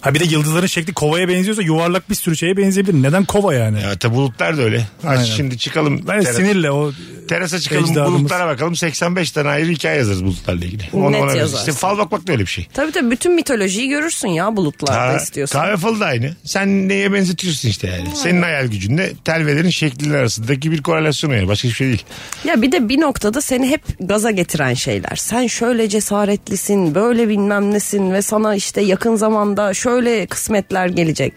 Speaker 5: ha bir de yıldızların şekli kovaya benziyorsa yuvarlak bir sürü şeye benzeyebilir. Neden kova yani?
Speaker 3: Ya tabi bulutlar da öyle. Aç
Speaker 5: Aynen.
Speaker 3: şimdi çıkalım.
Speaker 5: Ben
Speaker 3: terasa.
Speaker 5: sinirle o
Speaker 3: Terasa çıkalım
Speaker 5: Ecdadımız.
Speaker 3: bulutlara bakalım. 85 tane ayrı hikaye yazarız bulutlarla ilgili. Ona,
Speaker 4: Net
Speaker 3: ona veririz.
Speaker 4: yazarsın.
Speaker 3: İşte fal bakmak da öyle bir şey.
Speaker 4: Tabii tabii bütün mitolojiyi görürsün ya bulutlarda
Speaker 3: Ha,
Speaker 4: istiyorsan.
Speaker 3: kahve falı da aynı. Sen neye benzetiyorsun işte yani. Senin hayal gücünle telvelerin şeklinin arasındaki bir korelasyon yani. Başka hiçbir şey değil.
Speaker 4: Ya bir de bir noktada seni hep gaza getiren şeyler. Sen şöyle cesaretlisin, böyle bilmem nesin ve sana işte yakın zamanda şöyle kısmetler gelecek.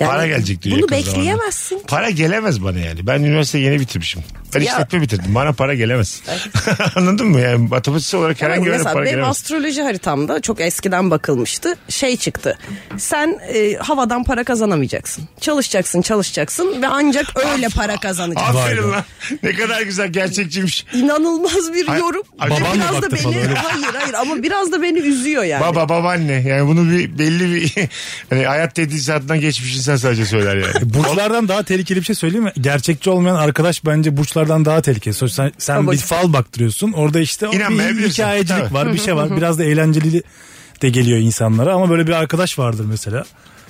Speaker 4: Yani
Speaker 3: Para gelecek diyor.
Speaker 4: Bunu
Speaker 3: yakın zamanda.
Speaker 4: bekleyemezsin.
Speaker 3: Para gelemez bana yani. Ben üniversite yeni bitirmişim. Ben
Speaker 4: Ya-
Speaker 3: işletme bitirdim. Bana para gelemez. Anladın mı? Yani matematiksel olarak herhangi
Speaker 4: Yani
Speaker 3: bir
Speaker 4: mesela
Speaker 3: para
Speaker 4: benim
Speaker 3: gelemez.
Speaker 4: astroloji haritamda çok eskiden bakılmıştı. Şey çıktı. Sen e, havadan para kazanamayacaksın. Çalışacaksın, çalışacaksın ve ancak öyle para kazanacaksın.
Speaker 3: Aferin lan. Ne kadar güzel gerçekçiymiş.
Speaker 4: İnanılmaz bir
Speaker 3: Ay-
Speaker 4: yorum.
Speaker 3: Ay-
Speaker 4: Ve
Speaker 3: Baban mı
Speaker 4: biraz da
Speaker 5: baktı falan
Speaker 4: beni
Speaker 5: öyle?
Speaker 4: hayır hayır ama biraz da beni üzüyor yani.
Speaker 3: Baba babaanne yani bunu bir belli bir hani hayat tedrisatından geçmiş insan sadece söyler yani.
Speaker 5: E, Burçlardan daha tehlikeli bir şey söyleyeyim mi? Gerçekçi olmayan arkadaş bence burçlardan daha tehlikeli. Sonuçta sen, sen
Speaker 4: Tabii.
Speaker 5: bir fal baktırıyorsun. Orada işte o bir
Speaker 3: İnanmayabilirsin.
Speaker 5: hikayecilik
Speaker 3: Tabii.
Speaker 5: var, bir şey var. Biraz da eğlenceli de geliyor insanlara ama böyle bir arkadaş vardır mesela.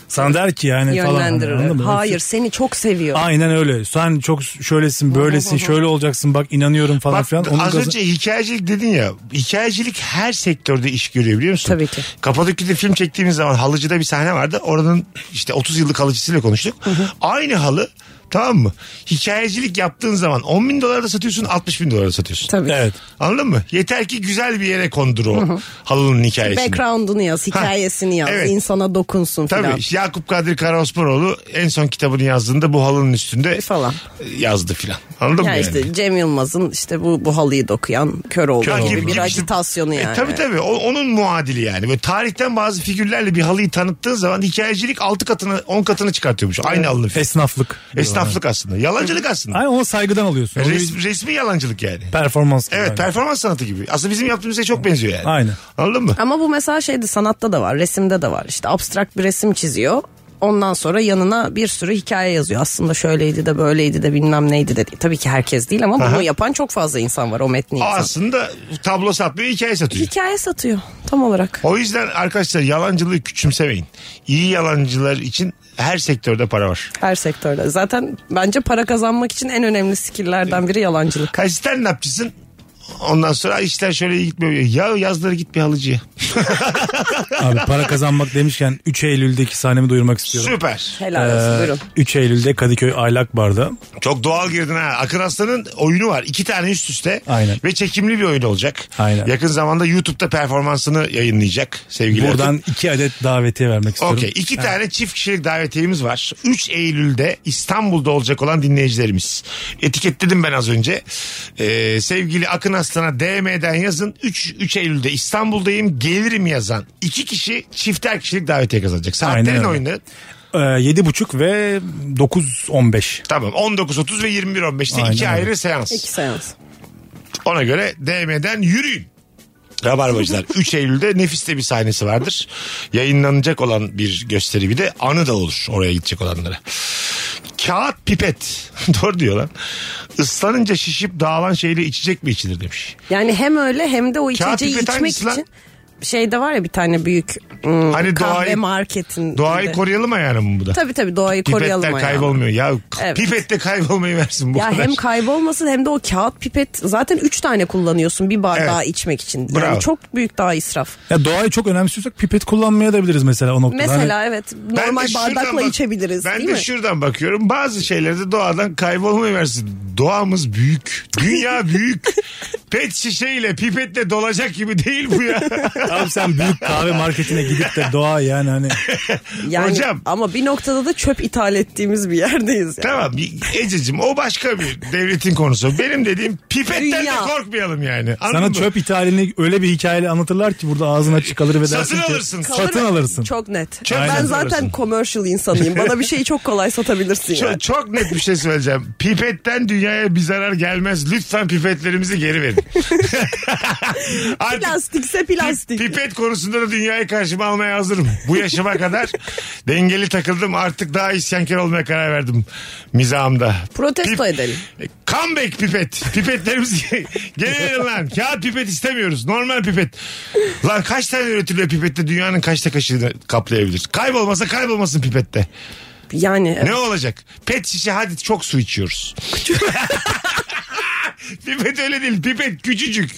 Speaker 5: Sana der ki yani falan. hani,
Speaker 4: yönlendirir.
Speaker 5: anladın mı?
Speaker 4: Hayır seni çok seviyor.
Speaker 5: Aynen öyle. Sen çok şöylesin, böylesin, şöyle olacaksın. Bak inanıyorum falan
Speaker 3: Bak,
Speaker 5: filan. Onun
Speaker 3: az
Speaker 5: gazı-
Speaker 3: önce hikayecilik dedin ya. Hikayecilik her sektörde iş görüyor biliyor musun?
Speaker 4: Tabii ki.
Speaker 3: Kapadokya'da film çektiğimiz zaman halıcıda bir sahne vardı. Oranın işte 30 yıllık halıcısıyla konuştuk. Aynı halı Tamam mı? Hikayecilik yaptığın zaman 10 bin dolara da satıyorsun 60 bin dolara da satıyorsun.
Speaker 4: Tabii.
Speaker 5: Evet.
Speaker 3: Anladın mı? Yeter ki güzel bir yere kondur o halının hikayesini.
Speaker 4: Background'unu yaz, hikayesini yaz,
Speaker 3: evet.
Speaker 4: insana dokunsun
Speaker 3: Tabii
Speaker 4: filan.
Speaker 3: işte Yakup Kadri Karaosmanoğlu en son kitabını yazdığında bu halının üstünde
Speaker 4: Falan.
Speaker 3: yazdı filan. Anladın
Speaker 4: Ya
Speaker 3: mı yani?
Speaker 4: işte Cem Yılmaz'ın işte bu bu halıyı dokuyan kör oldu
Speaker 3: Kör
Speaker 4: gibi
Speaker 3: oldu.
Speaker 4: bir
Speaker 3: Gibi işte-
Speaker 4: agitasyonu
Speaker 3: E,
Speaker 4: yani.
Speaker 3: tabii tabii O- onun muadili yani. Böyle tarihten bazı figürlerle bir halıyı tanıttığın zaman hikayecilik 6 katını 10 katını çıkartıyormuş. Aynı halının.
Speaker 5: Esnaflık.
Speaker 3: Esnaflık aslında. Yalancılık aslında.
Speaker 5: Aynen ona saygıdan alıyorsun. Onu
Speaker 3: Res-
Speaker 5: bir
Speaker 3: resmi yalancılık yani.
Speaker 5: performans. gibi
Speaker 3: Evet
Speaker 5: yani.
Speaker 3: performans sanatı gibi. Aslında bizim yaptığımız şey çok benziyor yani.
Speaker 5: Aynen.
Speaker 3: Anladın mı?
Speaker 4: Ama bu mesela şeyde sanatta da var, resimde de var. İşte abstrakt bir resim çiziyor. Ondan sonra yanına bir sürü hikaye yazıyor. Aslında şöyleydi de böyleydi de bilmem neydi de. değil. Tabii ki herkes değil ama bunu yapan çok fazla insan var o metni
Speaker 3: O
Speaker 4: yazan.
Speaker 3: aslında tablo satmıyor hikaye satıyor.
Speaker 4: Hikaye satıyor tam olarak.
Speaker 3: O yüzden arkadaşlar yalancılığı küçümsemeyin. İyi yalancılar için her sektörde para var.
Speaker 4: Her sektörde. Zaten bence para kazanmak için en önemli skill'lerden biri yalancılık.
Speaker 3: Kaç stand upçısın? Ondan sonra işler şöyle gitmiyor. Ya yazları git bir halıcıya.
Speaker 5: Abi para kazanmak demişken 3 Eylül'deki sahnemi duyurmak istiyorum.
Speaker 3: Süper.
Speaker 4: Helal
Speaker 3: Ee,
Speaker 4: olsun buyurun.
Speaker 5: 3 Ee, Eylül'de Kadıköy Aylak Bar'da.
Speaker 3: Çok doğal girdin ha. Akın Aslan'ın oyunu var. İki tane üst üste.
Speaker 5: Aynen.
Speaker 3: Ve çekimli bir oyun olacak.
Speaker 5: Aynen.
Speaker 3: Yakın zamanda YouTube'da performansını yayınlayacak sevgili Akın.
Speaker 5: Buradan 2 adet davetiye vermek istiyorum.
Speaker 3: Okey. İki tane çift kişilik davetiyemiz var. 3 Eylül'de İstanbul'da olacak olan dinleyicilerimiz. Etiketledim ben az önce. Ee, sevgili Akın Aslan'a DM'den yazın. 3, 3 Eylül'de İstanbul'dayım gelirim yazan. iki kişi çifter kişilik davetiye kazanacak.
Speaker 5: Aynen
Speaker 3: Saatlerin
Speaker 5: öyle.
Speaker 3: oyunu.
Speaker 5: Ee, 7.30 ve 9.15.
Speaker 3: Tamam 19.30 ve 21.15'te
Speaker 5: Aynen
Speaker 3: iki
Speaker 5: öyle.
Speaker 3: ayrı seans.
Speaker 4: İki seans.
Speaker 3: Ona göre DM'den yürüyün. Rabarbacılar 3 Eylül'de nefiste bir sahnesi vardır. Yayınlanacak olan bir gösteri bir de anı da olur oraya gidecek olanlara. Kağıt pipet. Doğru diyor lan. Islanınca şişip dağılan şeyle içecek mi içilir demiş.
Speaker 4: Yani hem öyle hem de o
Speaker 3: Kağıt
Speaker 4: içeceği
Speaker 3: pipet
Speaker 4: içmek
Speaker 3: hangisi lan?
Speaker 4: için şeyde var ya bir tane büyük ım,
Speaker 3: Hani
Speaker 4: kahve
Speaker 3: doğayı-
Speaker 4: marketin.
Speaker 3: Doğayı
Speaker 4: gibi.
Speaker 3: koruyalım ayağını mı bu da?
Speaker 4: Tabii tabii doğayı koruyalım.
Speaker 3: Pipetler
Speaker 4: yani.
Speaker 3: kaybolmuyor. Ya
Speaker 4: Evet.
Speaker 3: pipette kaybolmayı versin bu
Speaker 4: Ya
Speaker 3: kadar.
Speaker 4: hem kaybolmasın hem de o kağıt pipet zaten 3 tane kullanıyorsun bir bardağı
Speaker 3: Evet.
Speaker 4: içmek için. Yani
Speaker 3: Bravo.
Speaker 4: çok büyük daha israf.
Speaker 5: Ya doğayı çok önemsiyorsak pipet kullanmaya da biliriz mesela o noktada.
Speaker 4: Mesela
Speaker 5: Hani
Speaker 4: evet
Speaker 3: Ben de
Speaker 4: normal
Speaker 3: şuradan
Speaker 4: bardakla
Speaker 3: bak-
Speaker 4: içebiliriz
Speaker 3: Ben
Speaker 4: değil
Speaker 3: de
Speaker 4: mi?
Speaker 3: şuradan bakıyorum. Bazı şeylerde doğadan kaybolmayı versin. Doğamız büyük. Dünya büyük. Pet şişeyle pipetle dolacak gibi değil bu ya.
Speaker 5: abi sen büyük kahve marketine gidip de doğa yani hani
Speaker 4: Yani,
Speaker 3: Hocam.
Speaker 4: Ama bir noktada da çöp ithal ettiğimiz bir yerdeyiz. Yani.
Speaker 3: tamam Ececiğim o başka bir devletin konusu. Benim dediğim pipetten
Speaker 4: Dünya.
Speaker 3: de korkmayalım yani. Anladın
Speaker 5: sana
Speaker 3: mı?
Speaker 5: çöp ithalini öyle bir hikayeyle anlatırlar ki burada ağzına çıkalır ve dersin
Speaker 3: Satın
Speaker 5: ki-
Speaker 3: alırsın.
Speaker 4: Kalır-
Speaker 5: Satın alırsın.
Speaker 4: Çok net.
Speaker 3: Çöp
Speaker 4: ben
Speaker 3: satın
Speaker 4: zaten
Speaker 3: alırsın.
Speaker 4: commercial insanıyım. Bana bir şeyi çok kolay satabilirsin yani.
Speaker 3: Çok, çok net bir şey söyleyeceğim. Pipetten dünyaya bir zarar gelmez. Lütfen pipetlerimizi geri verin. Artık
Speaker 4: Plastikse plastik.
Speaker 3: Pipet konusunda da dünyayı karşıma almaya hazırım. Bu yaşıma kadar dengeli takıldım. Artık daha isyankar olmaya karar verdim mizahımda.
Speaker 4: Protesto edelim.
Speaker 3: Comeback pipet. Pipetlerimizi geri verin lan. Kağıt pipet istemiyoruz. Normal pipet. Lan kaç tane üretiliyor pipette dünyanın kaçta kaşığını kaplayabilir? Kaybolmasa kaybolmasın pipette.
Speaker 4: Yani
Speaker 3: Ne olacak? Pet şişe hadi çok su içiyoruz. pipet öyle değil. Pipet küçücük.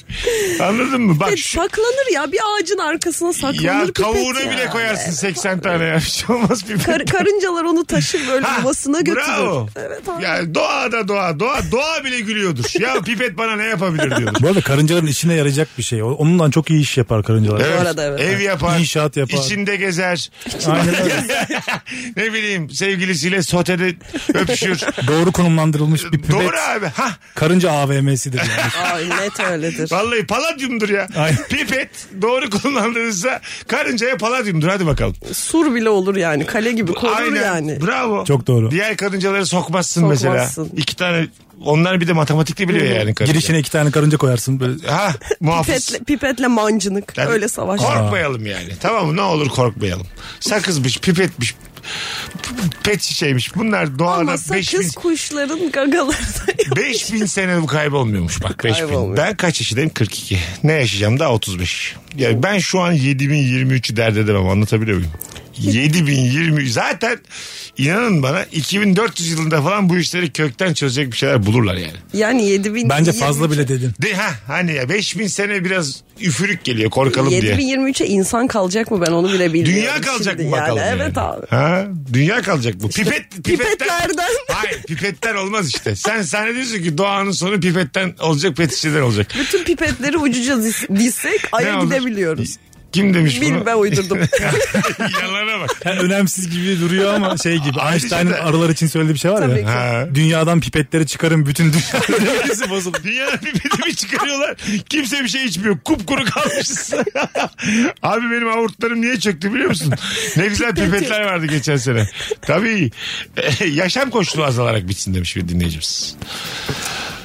Speaker 3: Anladın mı? Bak
Speaker 4: Pet
Speaker 3: şu-
Speaker 4: saklanır ya bir ağacın arkasına saklanır
Speaker 3: Ya
Speaker 4: pipet
Speaker 3: kavuğuna
Speaker 4: ya.
Speaker 3: bile koyarsın 80 tane ya. Bir şey olmaz pipet.
Speaker 4: Kar- karıncalar onu taşır böyle
Speaker 3: Ha,
Speaker 4: yuvasına götürür.
Speaker 3: Bravo.
Speaker 4: Evet abi.
Speaker 3: Ya doğa da doğa. Doğa, doğa bile gülüyordur. ya pipet bana ne yapabilir diyordur.
Speaker 5: Bu arada karıncaların işine yarayacak bir şey. O- Onunla çok iyi iş yapar karıncalar.
Speaker 4: Evet. arada evet.
Speaker 3: Ev yapar.
Speaker 5: İnşaat yapar.
Speaker 3: İçinde gezer.
Speaker 5: Aynen öyle.
Speaker 3: ne bileyim sevgilisiyle sotede öpüşür.
Speaker 5: Doğru konumlandırılmış bir pipet.
Speaker 3: Doğru abi. Ha
Speaker 5: Karınca AVM'sidir yani.
Speaker 4: Ay net öyledir.
Speaker 3: vallahi paladyumdur ya.
Speaker 5: Aynen.
Speaker 3: Pipet doğru kullandığınızda karıncaya paladyumdur. Hadi bakalım.
Speaker 4: Sur bile olur yani kale gibi korur
Speaker 3: Aynen.
Speaker 4: yani.
Speaker 3: Bravo.
Speaker 5: Çok doğru.
Speaker 3: Diğer karıncaları sokmazsın, mesela.
Speaker 4: Sokmazsın.
Speaker 3: İki tane onlar bir de matematikte biliyor yani karınca.
Speaker 5: Girişine iki tane karınca koyarsın. Böyle
Speaker 3: Ha muhafız.
Speaker 4: Pipetle, pipetle mancınık
Speaker 3: Yani
Speaker 4: öyle savaş.
Speaker 3: Korkmayalım yani. Tamam mı? Ne olur korkmayalım. Sakızmış, pipetmiş, pet şişeymiş. Bunlar doğada
Speaker 4: Ama sakız
Speaker 3: 5000
Speaker 4: kuşların gagalarına
Speaker 3: 5000 sene bu kaybolmuyormuş bak 5000.
Speaker 4: Kaybolmuyor.
Speaker 3: Ben kaç yaşındayım? 42. Ne yaşayacağım daha 35. Yani ben şu an 7023'ü dert edemem anlatabiliyor muyum? 7020 zaten inanın bana 2400 yılında falan bu işleri kökten çözecek bir şeyler bulurlar yani.
Speaker 4: Yani 7000
Speaker 5: Bence fazla bile
Speaker 4: şey-
Speaker 5: dedin.
Speaker 3: De, ha hani ya 5000 sene biraz üfürük geliyor korkalım diye.
Speaker 4: 7023'e insan kalacak mı ben onu bile bilmiyorum.
Speaker 3: Dünya kalacak
Speaker 4: şimdi
Speaker 3: mı bakalım?
Speaker 4: Yani.
Speaker 3: yani?
Speaker 4: Evet abi.
Speaker 3: Ha? Dünya kalacak bu. Pipet,
Speaker 4: pipetlerden.
Speaker 3: Hayır pipetler olmaz işte. Sen sen ne diyorsun ki doğanın sonu pipetten olacak pet şişeden olacak.
Speaker 4: Bütün pipetleri ucuca dis- dizsek aya
Speaker 3: Ne olur?
Speaker 4: gidebiliyoruz.
Speaker 3: Kim demiş bunu?
Speaker 4: Bilme uydurdum.
Speaker 3: Yalana bak.
Speaker 5: Yani önemsiz gibi duruyor ama şey gibi Einstein'ın
Speaker 3: dışında-
Speaker 5: arılar için söylediği bir şey var
Speaker 4: Tabii
Speaker 5: ya.
Speaker 4: ki.
Speaker 3: Ha.
Speaker 5: Dünyadan pipetleri çıkarın bütün dünya dengesi bozuldu.
Speaker 3: Dünya pipetimi çıkarıyorlar. Kimse bir şey içmiyor. Kupkuru kalmışız. Abi benim avurtlarım niye çöktü biliyor musun? Ne güzel pipetler vardı geçen sene. Tabii. Eh, yaşam koşulu azalarak bitsin demiş bir dinleyicimiz.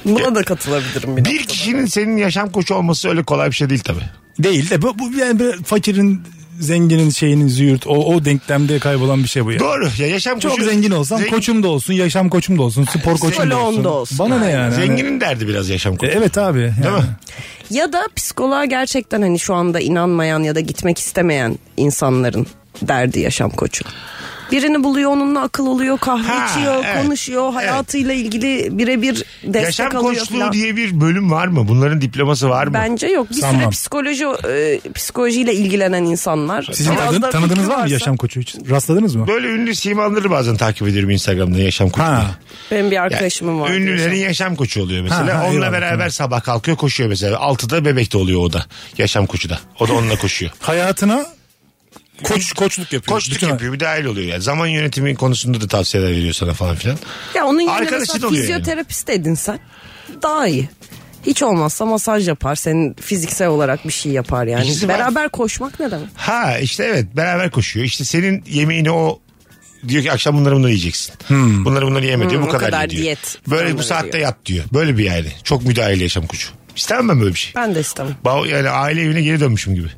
Speaker 4: Buna da katılabilirim. Bir
Speaker 3: Bir kişinin senin yaşam koçu olması öyle kolay bir şey değil tabii.
Speaker 5: Değil de bu, bu yani böyle fakirin zenginin şeyinin züğürt o, o denklemde kaybolan bir şey bu ya.
Speaker 3: Doğru. Ya yaşam
Speaker 5: Çok
Speaker 3: koçu-
Speaker 5: zengin olsam
Speaker 3: Zengin-
Speaker 5: koçum da olsun, yaşam koçum da olsun, spor koçum da
Speaker 4: Salon
Speaker 5: olsun.
Speaker 4: da olsun.
Speaker 5: Bana ne yani? Hani-
Speaker 3: Zenginin derdi biraz yaşam
Speaker 5: E,
Speaker 3: koçu.
Speaker 5: Evet abi. yani.
Speaker 3: Değil mi?
Speaker 4: Ya da psikoloğa gerçekten hani şu anda inanmayan ya da gitmek istemeyen insanların derdi yaşam koçu. Birini buluyor onunla akıl oluyor kahve
Speaker 3: Ha,
Speaker 4: içiyor
Speaker 3: evet.
Speaker 4: konuşuyor hayatıyla ilgili birebir destek
Speaker 3: Yaşam
Speaker 4: alıyor
Speaker 3: koçluğu
Speaker 4: falan.
Speaker 3: diye bir bölüm var mı? Bunların diploması var mı?
Speaker 4: Bence yok bir süre
Speaker 5: Sanmam.
Speaker 4: psikoloji e, psikolojiyle ilgilenen insanlar.
Speaker 5: Sizin
Speaker 4: Biraz
Speaker 5: tanı-
Speaker 4: da
Speaker 5: tanıdığınız
Speaker 4: fikri
Speaker 5: var mı
Speaker 4: varsa-
Speaker 5: yaşam koçu hiç? Rastladınız mı?
Speaker 3: Böyle ünlü simaları bazen takip ediyorum Instagram'da yaşam koçu. diye.
Speaker 5: Ha.
Speaker 4: Benim bir arkadaşımım var.
Speaker 3: Ünlülerin yaşam koçu oluyor mesela.
Speaker 5: Ha, ha,
Speaker 3: onunla
Speaker 5: eyvallah,
Speaker 3: beraber
Speaker 5: tamam.
Speaker 3: sabah kalkıyor koşuyor mesela. Altıda bebek de oluyor o da. Yaşam koçu da. O da onunla koşuyor.
Speaker 5: Hayatına koç koçluk yapıyor.
Speaker 3: Koçluk
Speaker 5: Bütün-
Speaker 3: yapıyor bir dahil oluyor yani. Zaman yönetimi konusunda da tavsiyeler veriyor sana falan filan.
Speaker 4: Ya onun yerine
Speaker 3: Arkadaşın
Speaker 4: mesela
Speaker 3: oluyor
Speaker 4: fizyoterapist edinsen daha iyi. Hiç olmazsa masaj yapar. Senin fiziksel olarak bir şey yapar yani.
Speaker 3: İkisi var.
Speaker 4: Beraber koşmak ne demek?
Speaker 3: Ha işte evet beraber koşuyor. İşte senin yemeğini o diyor ki akşam bunları bunları yiyeceksin. Bunları bunları yeme diyor
Speaker 4: Hmm,
Speaker 3: bu
Speaker 4: o
Speaker 3: kadar,
Speaker 4: kadar
Speaker 3: diyor.
Speaker 4: diyet
Speaker 3: Böyle
Speaker 4: falan
Speaker 3: bu saatte
Speaker 4: diyor.
Speaker 3: yat diyor. Böyle bir yani. Çok müdahale yaşam koçu. İstemem ben böyle bir şey.
Speaker 4: Ben de istemem.
Speaker 3: Ba- Yani aile evine geri dönmüşüm gibi.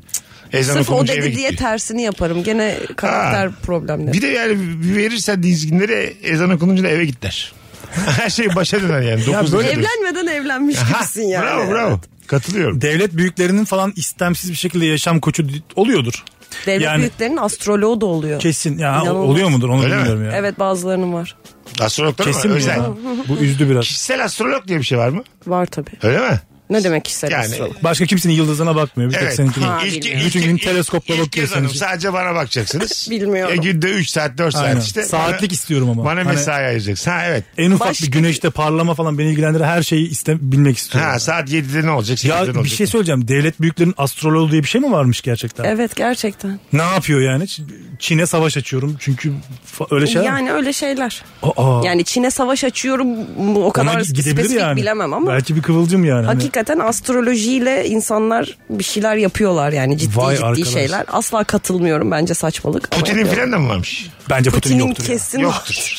Speaker 3: Ezan
Speaker 4: Sırf o
Speaker 3: okununca eve
Speaker 4: dedi
Speaker 3: git
Speaker 4: diye
Speaker 3: diyor.
Speaker 4: tersini yaparım. Gene karakter
Speaker 3: Ha.
Speaker 4: problemleri.
Speaker 3: Bir de yani verirsen dizginleri ezan okununca da eve git der. Her şey başa döner yani. Dokuz
Speaker 5: böyle
Speaker 3: döner.
Speaker 4: Evlenmeden evlenmiş
Speaker 3: Ha,
Speaker 4: gibisin yani.
Speaker 3: Bravo bravo. Katılıyorum.
Speaker 5: Devlet büyüklerinin falan istemsiz bir şekilde yaşam koçu di- oluyordur.
Speaker 4: Devlet
Speaker 5: Yani-
Speaker 4: büyüklerinin astroloğu da oluyor.
Speaker 5: Kesin ya o-
Speaker 4: İnanılmaz.
Speaker 5: oluyor mudur onu
Speaker 3: Öyle mi?
Speaker 5: bilmiyorum ya.
Speaker 4: Evet bazılarının var.
Speaker 3: Astrologlar
Speaker 5: Kesin
Speaker 3: mı?
Speaker 5: mi
Speaker 3: Özel.
Speaker 5: ya? Bu üzdü biraz.
Speaker 3: Kişisel astrolog diye bir şey var mı?
Speaker 4: Var tabii.
Speaker 3: Öyle mi?
Speaker 4: Ne demek kişisel
Speaker 3: Yani-
Speaker 4: astrolog?
Speaker 5: Başka kimsenin yıldızına bakmıyor. Bir tek
Speaker 3: Evet.
Speaker 5: seninkine.
Speaker 4: Ha,
Speaker 3: İlk,
Speaker 4: bilmiyorum.
Speaker 5: Bütün gün teleskopla
Speaker 3: ilk- ilk
Speaker 5: bakıyorsunuz.
Speaker 3: yazanım. Sadece bana bakacaksınız.
Speaker 4: Bilmiyorum.
Speaker 3: E, günde 3 saat 4
Speaker 5: Aynen.
Speaker 3: saat işte.
Speaker 5: Saatlik
Speaker 3: Bana-
Speaker 5: istiyorum ama.
Speaker 3: Bana
Speaker 5: Hani-
Speaker 3: mesai ayıracaksın. Ha evet.
Speaker 5: En ufak
Speaker 4: Başka-
Speaker 5: bir güneşte parlama falan beni ilgilendiren her şeyi iste, bilmek istiyorum.
Speaker 3: Ha saat 7'de ne olacak? 8'de ne
Speaker 5: E- ya bir
Speaker 3: olacak?
Speaker 5: şey söyleyeceğim. Devlet büyüklerinin astroloğu diye bir şey mi varmış gerçekten?
Speaker 4: Evet gerçekten.
Speaker 5: Ne yapıyor yani? Ç- Çin'e savaş açıyorum çünkü fa- öyle şeyler.
Speaker 4: yani öyle şeyler.
Speaker 5: Aa,
Speaker 4: Yani Çin'e savaş açıyorum mu, o
Speaker 5: ona
Speaker 4: kadar
Speaker 5: gi- gidebilir
Speaker 4: spesifik
Speaker 5: yani.
Speaker 4: bilemem ama.
Speaker 5: Belki bir kıvılcım yani. Hani
Speaker 4: Hakikaten astrolojiyle insanlar bir şeyler yapıyorlar yani ciddi
Speaker 5: Vay
Speaker 4: ciddi
Speaker 5: arkadaş.
Speaker 4: şeyler. Asla katılmıyorum bence saçmalık. ama
Speaker 3: Putin'in
Speaker 4: yapıyorum.
Speaker 3: filan da mı varmış?
Speaker 5: bence Putin,
Speaker 4: Putin'in
Speaker 5: yoktur. ya.
Speaker 4: kesin
Speaker 3: Yoktur.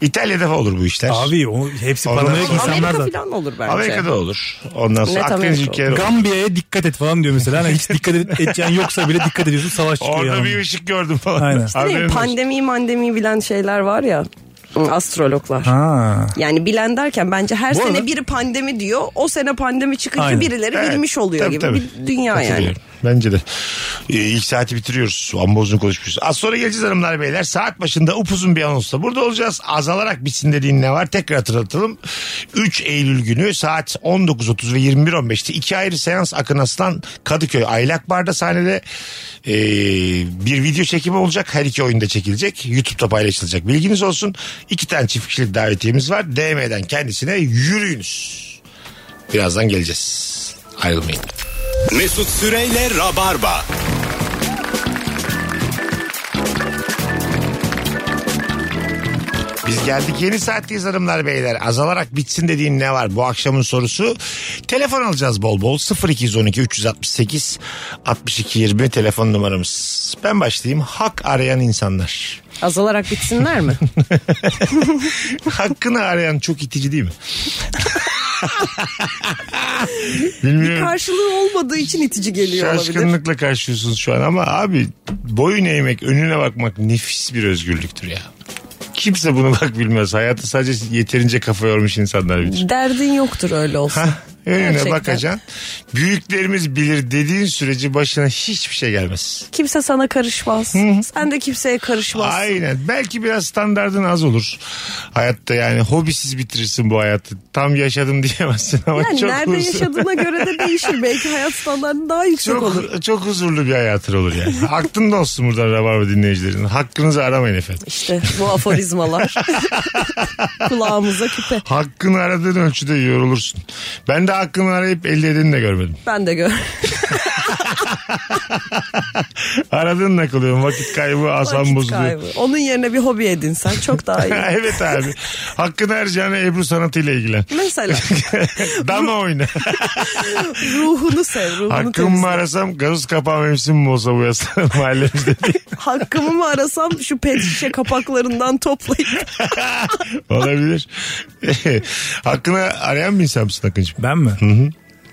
Speaker 3: İtalya'da da olur bu işler.
Speaker 5: Abi o hepsi
Speaker 3: Ondan
Speaker 5: paranoyak
Speaker 3: sonra-
Speaker 5: insanlar
Speaker 4: Amerika
Speaker 5: da.
Speaker 4: falan olur bence.
Speaker 3: Amerika'da olur. Ondan sonra
Speaker 4: Net
Speaker 3: Akdeniz
Speaker 4: Amerika
Speaker 3: ülkeleri olur.
Speaker 5: Gambiya'ya dikkat et falan diyor mesela. Hani hiç dikkat et, edeceğin yoksa bile dikkat ediyorsun savaş çıkıyor.
Speaker 3: Orada
Speaker 5: yanında.
Speaker 3: bir ışık gördüm falan.
Speaker 5: Aynen.
Speaker 4: Değil mi?
Speaker 3: Haberin olsun.
Speaker 4: Pandemi mandemi bilen şeyler var ya ıı, astrologlar.
Speaker 5: Ha.
Speaker 4: Yani bilen derken bence her
Speaker 5: Bu
Speaker 4: sene
Speaker 5: arada-
Speaker 4: biri pandemi diyor. O sene pandemi çıkınca
Speaker 5: Aynen.
Speaker 4: birileri
Speaker 3: Evet,
Speaker 4: bilmiş oluyor
Speaker 3: tabii,
Speaker 4: gibi
Speaker 3: tabii.
Speaker 4: bir dünya yani.
Speaker 3: Katılıyorum. Bence de. Ee, ilk saati bitiriyoruz. Ambozunu konuşmuşuz. Az sonra geleceğiz hanımlar beyler. Saat başında upuzun bir anonsla burada olacağız. Azalarak bitsin dediğin ne var? Tekrar hatırlatalım. 3 Eylül günü saat 19.30 ve 21.15'te iki ayrı seans Akın Aslan Kadıköy Aylak Bar'da sahnede ee, bir video çekimi olacak. Her iki oyunda çekilecek. YouTube'da paylaşılacak. Bilginiz olsun. İki tane çift kişilik davetiyemiz var. DM'den kendisine yürüyünüz. Birazdan geleceğiz. Ayrılmayın.
Speaker 2: Mesut Süreyle Rabarba.
Speaker 3: Biz geldik yeni saatteyiz hanımlar beyler. Azalarak bitsin dediğin ne var? Bu akşamın sorusu. Telefon alacağız bol bol. 0212 368 62 20 telefon numaramız. Ben başlayayım. Hak arayan insanlar.
Speaker 4: Azalarak bitsinler mi?
Speaker 3: Hakkını arayan çok itici değil mi? Bilmiyorum.
Speaker 4: Karşılığı olmadığı için itici geliyor olabilir.
Speaker 3: Şaşkınlıkla karşıyorsunuz şu an ama abi boyun eğmek, önüne bakmak nefis bir özgürlüktür ya. Kimse bunu bak bilmez. Hayatı sadece yeterince kafa yormuş insanlar bilir.
Speaker 4: Derdin yoktur öyle olsun.
Speaker 3: Hah, Önüne
Speaker 4: Gerçekten.
Speaker 3: bakacaksın. Büyüklerimiz bilir dediğin sürece başına hiçbir şey gelmez.
Speaker 4: Kimse sana karışmaz. Sen de kimseye karışmazsın.
Speaker 3: Aynen. Belki biraz standardın az olur. Hayatta yani hobisiz bitirirsin bu hayatı. Tam yaşadım diyemezsin ama
Speaker 4: Yani
Speaker 3: çok
Speaker 4: nerede
Speaker 3: huzurlu-
Speaker 4: yaşadığına göre de değişir. Belki hayat standartı daha yüksek
Speaker 3: Çok,
Speaker 4: olur.
Speaker 3: çok huzurlu bir hayatın olur yani. Aklında olsun buradan Rabarba dinleyicilerin. Hakkınızı aramayın efendim.
Speaker 4: İşte bu aforizmalar. Kulağımıza küpe.
Speaker 3: Hakkını aradığın ölçüde yorulursun. Ben de hakkını arayıp elde edeni de görmedim.
Speaker 4: Ben de gör.
Speaker 3: Aradığın ne kalıyor? Vakit kaybı, asam
Speaker 4: Vakit
Speaker 3: bozuluyor.
Speaker 4: kaybı. Onun yerine bir hobi edinsen çok daha iyi.
Speaker 3: evet abi. Hakkını harcayana Ebru sanatıyla ilgilen.
Speaker 4: Mesela
Speaker 3: Dama oyna.
Speaker 4: ruhunu sev, ruhunu
Speaker 3: Hakkımı
Speaker 4: temizle.
Speaker 3: mı arasam gazoz kapağı mevsimi mi olsa bu yaslanın mahallemizde diye.
Speaker 4: Hakkımı mı arasam şu pet şişe kapaklarından toplayıp
Speaker 3: Olabilir. hakkını arayan bir insan mısın Akıncığım?
Speaker 5: Ben mi?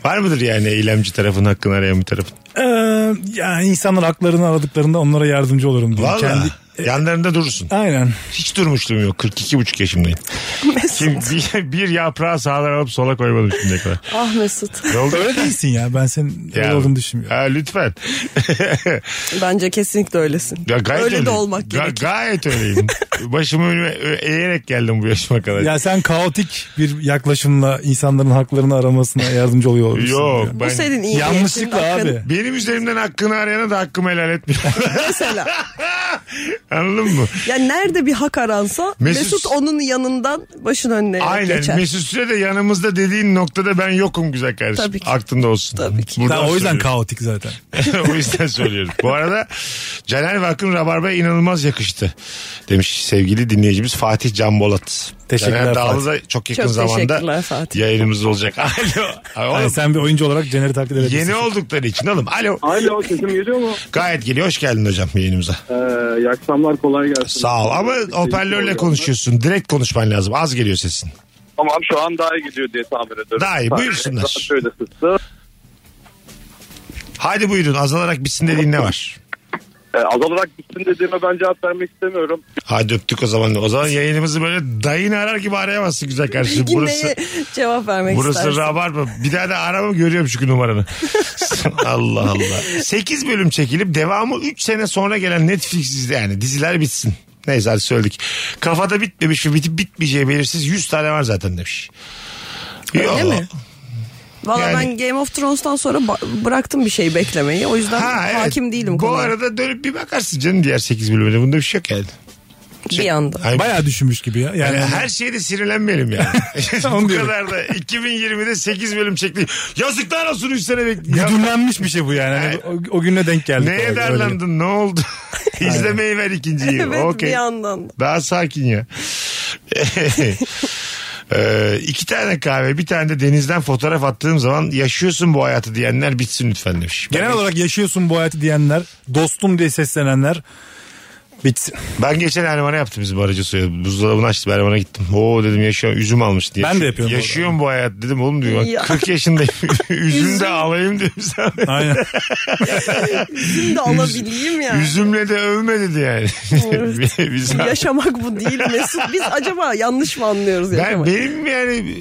Speaker 3: Var mıdır yani eylemci tarafın hakkını arayan bir tarafın?
Speaker 5: Ee, yani insanlar haklarını aradıklarında onlara yardımcı olurum diye.
Speaker 3: Valla
Speaker 5: Kendi-
Speaker 3: yanlarında durursun.
Speaker 5: Aynen.
Speaker 3: Hiç durmuşluğum yok. 42,5 yaşındayım.
Speaker 4: Mesut.
Speaker 3: Kim, bir, bir yaprağı sağdan alıp sola koymadım şimdiye kadar.
Speaker 4: Ah Mesut.
Speaker 3: Ne oldu?
Speaker 5: Öyle değilsin ya. Ben senin öyle olduğunu düşünmüyorum.
Speaker 3: Ha, lütfen.
Speaker 4: Bence kesinlikle öylesin.
Speaker 3: Ya gayet
Speaker 4: Öyle de
Speaker 3: öyleyim.
Speaker 4: olmak
Speaker 3: Ga-
Speaker 4: gerek.
Speaker 3: Gayet öyleyim. Başımı önüme ö- eğerek geldim bu yaşıma kadar.
Speaker 5: Ya sen kaotik bir yaklaşımla insanların haklarını aramasına yardımcı oluyor olabilirsin.
Speaker 3: Yok
Speaker 5: diyor.
Speaker 3: ben...
Speaker 4: Bu senin iyi
Speaker 5: Yanlışlıkla
Speaker 4: niyetin,
Speaker 5: abi.
Speaker 4: hakkın.
Speaker 3: Benim üzerimden hakkını arayana da hakkımı helal etmiyorum.
Speaker 4: Mesela.
Speaker 3: Anladın mı?
Speaker 4: Ya nerede bir hak aransa
Speaker 3: Mesut-
Speaker 4: Mesut, onun yanından başın önüne
Speaker 3: Aynen.
Speaker 4: geçer.
Speaker 3: Mesut Süre de yanımızda dediğin noktada ben yokum güzel kardeşim.
Speaker 4: Tabii ki.
Speaker 3: Aklında olsun.
Speaker 4: Tabii ki.
Speaker 3: Buradan
Speaker 5: Ben o yüzden
Speaker 3: söylüyorum.
Speaker 5: kaotik zaten.
Speaker 3: o yüzden söylüyorum. Bu arada Caner ve Akın Rabarba'ya inanılmaz yakıştı. Demiş sevgili dinleyicimiz Fatih Can Bolat.
Speaker 5: Teşekkürler
Speaker 3: Caner Dağlı
Speaker 5: Fatih.
Speaker 3: da çok yakın
Speaker 4: Çok
Speaker 3: zamanda
Speaker 4: teşekkürler Fatih.
Speaker 3: yayınımızda olacak. Alo. Ay, oğlum,
Speaker 5: Yani Hani sen bir oyuncu olarak Cener'i taklit edebilirsin.
Speaker 3: yeni oldukları için oğlum. Alo.
Speaker 7: Alo sesim geliyor mu?
Speaker 3: Gayet geliyor. Hoş geldin hocam yayınımıza.
Speaker 7: Ee, iyi akşamlar kolay gelsin.
Speaker 3: Sağ ol. Ama hoparlörle konuşuyorsun. Direkt konuşman lazım. Az geliyor sesin.
Speaker 6: Tamam şu an daha iyi gidiyor diye tahmin ediyorum.
Speaker 3: Daha iyi,
Speaker 6: Sadece
Speaker 3: buyursunlar.
Speaker 6: daha Şöyle sıktı.
Speaker 3: Hadi buyurun. Azalarak bitsin dediğin ne var?
Speaker 6: Ee, azalarak gitsin dediğime ben cevap vermek istemiyorum.
Speaker 3: Hadi öptük o zaman. O zaman yayınımızı böyle dayını arar gibi arayamazsın güzel kardeşim.
Speaker 4: Yine
Speaker 3: Burası
Speaker 4: cevap vermek
Speaker 3: Burası
Speaker 4: istersin.
Speaker 3: Rabarba. Bir daha da arama görüyorum çünkü numaranı. Allah Allah. 8 bölüm çekilip devamı 3 sene sonra gelen Netflix dizi- yani diziler bitsin. Neyse hadi söyledik. Kafada bitmemiş ve bitip bitmeyeceği belirsiz 100 tane var zaten demiş. Öyle
Speaker 4: mi? Valla
Speaker 3: yani-
Speaker 4: ben Game of Thrones'tan sonra ba- bıraktım bir şey beklemeyi. O yüzden hakim değilim
Speaker 3: Bu
Speaker 4: konuya.
Speaker 3: arada dönüp bir bakarsın canım diğer 8 bölümüne. Bunda bir şey yok yani.
Speaker 4: bir anda.
Speaker 3: Hani-
Speaker 5: Bayağı düşünmüş gibi ya. Yani, hani
Speaker 3: Yani her şeyde sinirlenmeyelim yani. Bu
Speaker 5: Onu diyorum.
Speaker 3: kadar da 2020'de 8 bölüm çekti. Yazıklar olsun 3 sene bekliyor.
Speaker 5: güdümlenmiş bir şey bu yani. Hani o, o gününe denk geldik.
Speaker 3: Neye
Speaker 5: Öyle.
Speaker 3: darlandın ne oldu? İzlemeyi ver ikinciyi.
Speaker 4: Evet
Speaker 3: Okey.
Speaker 4: bir yandan.
Speaker 3: Daha sakin ya. Ee, iki tane kahve bir tane de denizden fotoğraf attığım zaman yaşıyorsun bu hayatı diyenler bitsin lütfen demiş.
Speaker 5: Genel olarak yaşıyorsun bu hayatı diyenler, dostum diye seslenenler bitsin.
Speaker 3: Ben geçen Erman'a yaptım bizim aracı suya. Buzdolabını açtım Erman'a gittim. Oo dedim yaşıyorum. Üzüm almış diye.
Speaker 5: Ben de yapıyorum bu
Speaker 3: Yaşıyorum bu hayat dedim oğlum diyor. Bak,
Speaker 4: Ya.
Speaker 3: 40 yaşındayım. Üzüm de alayım dedim sana.
Speaker 5: Aynen.
Speaker 4: Şimdi de alabileyim yani.
Speaker 3: Üzümle de övme dedi yani. Biz-
Speaker 4: Yaşamak bu değil Mesut. Biz acaba yanlış mı anlıyoruz
Speaker 3: ben,
Speaker 4: yaşamak?
Speaker 3: benim yani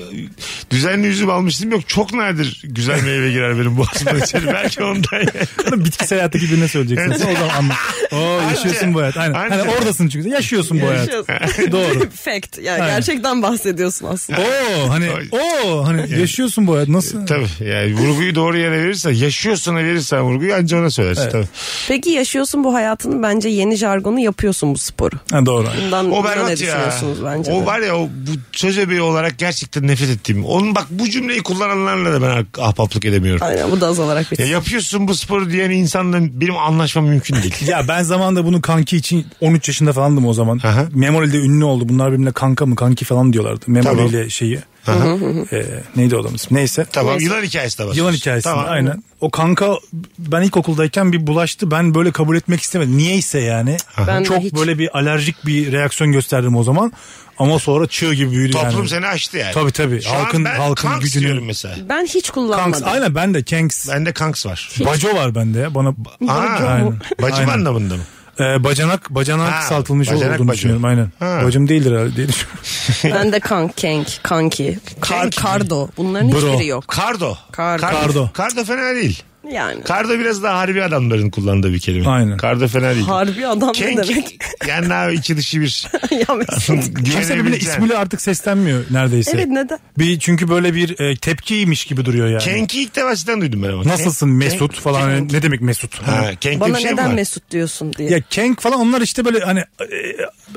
Speaker 3: düzenli üzüm almıştım yok. Çok nadir güzel meyve girer benim boğazımın içeri. Belki ondan yani.
Speaker 5: Bitkisel hayattaki birine söyleyeceksin. o zaman anla. Oo yaşıyorsun bu hayat. Aynen.
Speaker 3: Anca.
Speaker 5: Hani oradasın çünkü. Yaşıyorsun bu hayat.
Speaker 4: Yaşıyoruz.
Speaker 5: Doğru.
Speaker 4: Fact. Yani
Speaker 5: Aynen.
Speaker 4: gerçekten bahsediyorsun aslında.
Speaker 5: Oo hani oo hani yaşıyorsun bu hayat. Nasıl?
Speaker 3: Tabii yani vurguyu doğru yere verirsen yaşıyorsana verirsen vurguyu anca ona söylersin. Tabii.
Speaker 4: Peki yaşıyorsun bu hayatını bence yeni jargonu yapıyorsun bu sporu.
Speaker 5: Ha, doğru.
Speaker 4: Bundan,
Speaker 3: O
Speaker 4: bundan ne
Speaker 3: berbat ya.
Speaker 4: düşünüyorsunuz bence?
Speaker 3: o
Speaker 4: de?
Speaker 3: var ya o bu söz öbeği olarak gerçekten nefret ettiğim. Onun bak bu cümleyi kullananlarla da ben ah- ahbaplık edemiyorum.
Speaker 4: Aynen bu da azalarak
Speaker 3: Ya
Speaker 4: bitsin.
Speaker 3: yapıyorsun bu sporu diyen insanla benim anlaşmam mümkün değil.
Speaker 5: Ya ben zamanda bunu kanki için 13 yaşında falandım o zaman.
Speaker 3: Aha.
Speaker 5: Memorial'de ünlü oldu. Bunlar birbirine kanka mı kanki falan diyorlardı. Memorial ile şeyi. Ee, neydi o adamın ismi? Neyse.
Speaker 3: tamam yılan hikayesi de var.
Speaker 5: Yılan hikayesi.
Speaker 3: şey. Tamam.
Speaker 5: Aynen. O kanka ben ilkokuldayken bir bulaştı. Ben böyle kabul etmek istemedim. Niyeyse yani.
Speaker 4: Ben de
Speaker 5: Çok
Speaker 4: hiç-
Speaker 5: böyle bir alerjik bir reaksiyon gösterdim o zaman. Ama sonra çığ gibi büyüdü
Speaker 3: Toplum
Speaker 5: yani.
Speaker 3: seni açtı yani.
Speaker 5: Tabii tabii.
Speaker 3: Şu
Speaker 5: halkın
Speaker 3: an ben
Speaker 5: halkın
Speaker 3: Kanks
Speaker 5: gücünü.
Speaker 3: diyorum mesela.
Speaker 4: Ben hiç kullanmadım.
Speaker 5: Kanks. Aynen ben de Kanks.
Speaker 3: Bende kanks var.
Speaker 5: Baco var bende ya. Bana
Speaker 3: Aa,
Speaker 5: Aynen.
Speaker 3: bacım
Speaker 5: Aynen.
Speaker 3: anlamında mı?
Speaker 5: Ee, bacanak bacanak
Speaker 3: Ha,
Speaker 5: saltılmış
Speaker 3: bacanak
Speaker 5: olduğunu
Speaker 3: bacı.
Speaker 5: düşünüyorum aynen.
Speaker 3: Ha.
Speaker 5: Bacım değildir herhalde diye düşünüyorum.
Speaker 4: Ben de kank, kenk, kanki, kar,
Speaker 3: Kenk.
Speaker 4: kardo. Bunların
Speaker 5: Bro.
Speaker 4: hiçbiri yok.
Speaker 3: Kardo.
Speaker 4: Kardo.
Speaker 5: Kardo.
Speaker 3: Kardo fena değil.
Speaker 4: Yani.
Speaker 3: Kardo biraz daha harbi adamların kullandığı bir kelime.
Speaker 5: Aynen.
Speaker 3: Kardo fena değil.
Speaker 4: Harbi adam ne
Speaker 3: Kenk.
Speaker 4: demek?
Speaker 3: Yani abi iki dışı bir.
Speaker 4: ya Mesut.
Speaker 5: Kimse birbirine
Speaker 3: Güvenebileceğin.
Speaker 5: ismiyle artık seslenmiyor neredeyse.
Speaker 4: Evet neden?
Speaker 5: Bir, çünkü böyle bir e, tepkiymiş gibi duruyor yani.
Speaker 3: Kenki ilk defa sizden duydum ben ama.
Speaker 5: Nasılsın
Speaker 3: Kenk-
Speaker 5: Mesut
Speaker 3: Kenk-
Speaker 5: falan
Speaker 3: Kenk.
Speaker 5: ne demek Mesut?
Speaker 3: Ha, Kenk
Speaker 4: Bana
Speaker 3: bir şey mi
Speaker 4: neden
Speaker 3: var?
Speaker 4: Mesut diyorsun diye.
Speaker 5: Ya kenk falan onlar işte böyle hani e,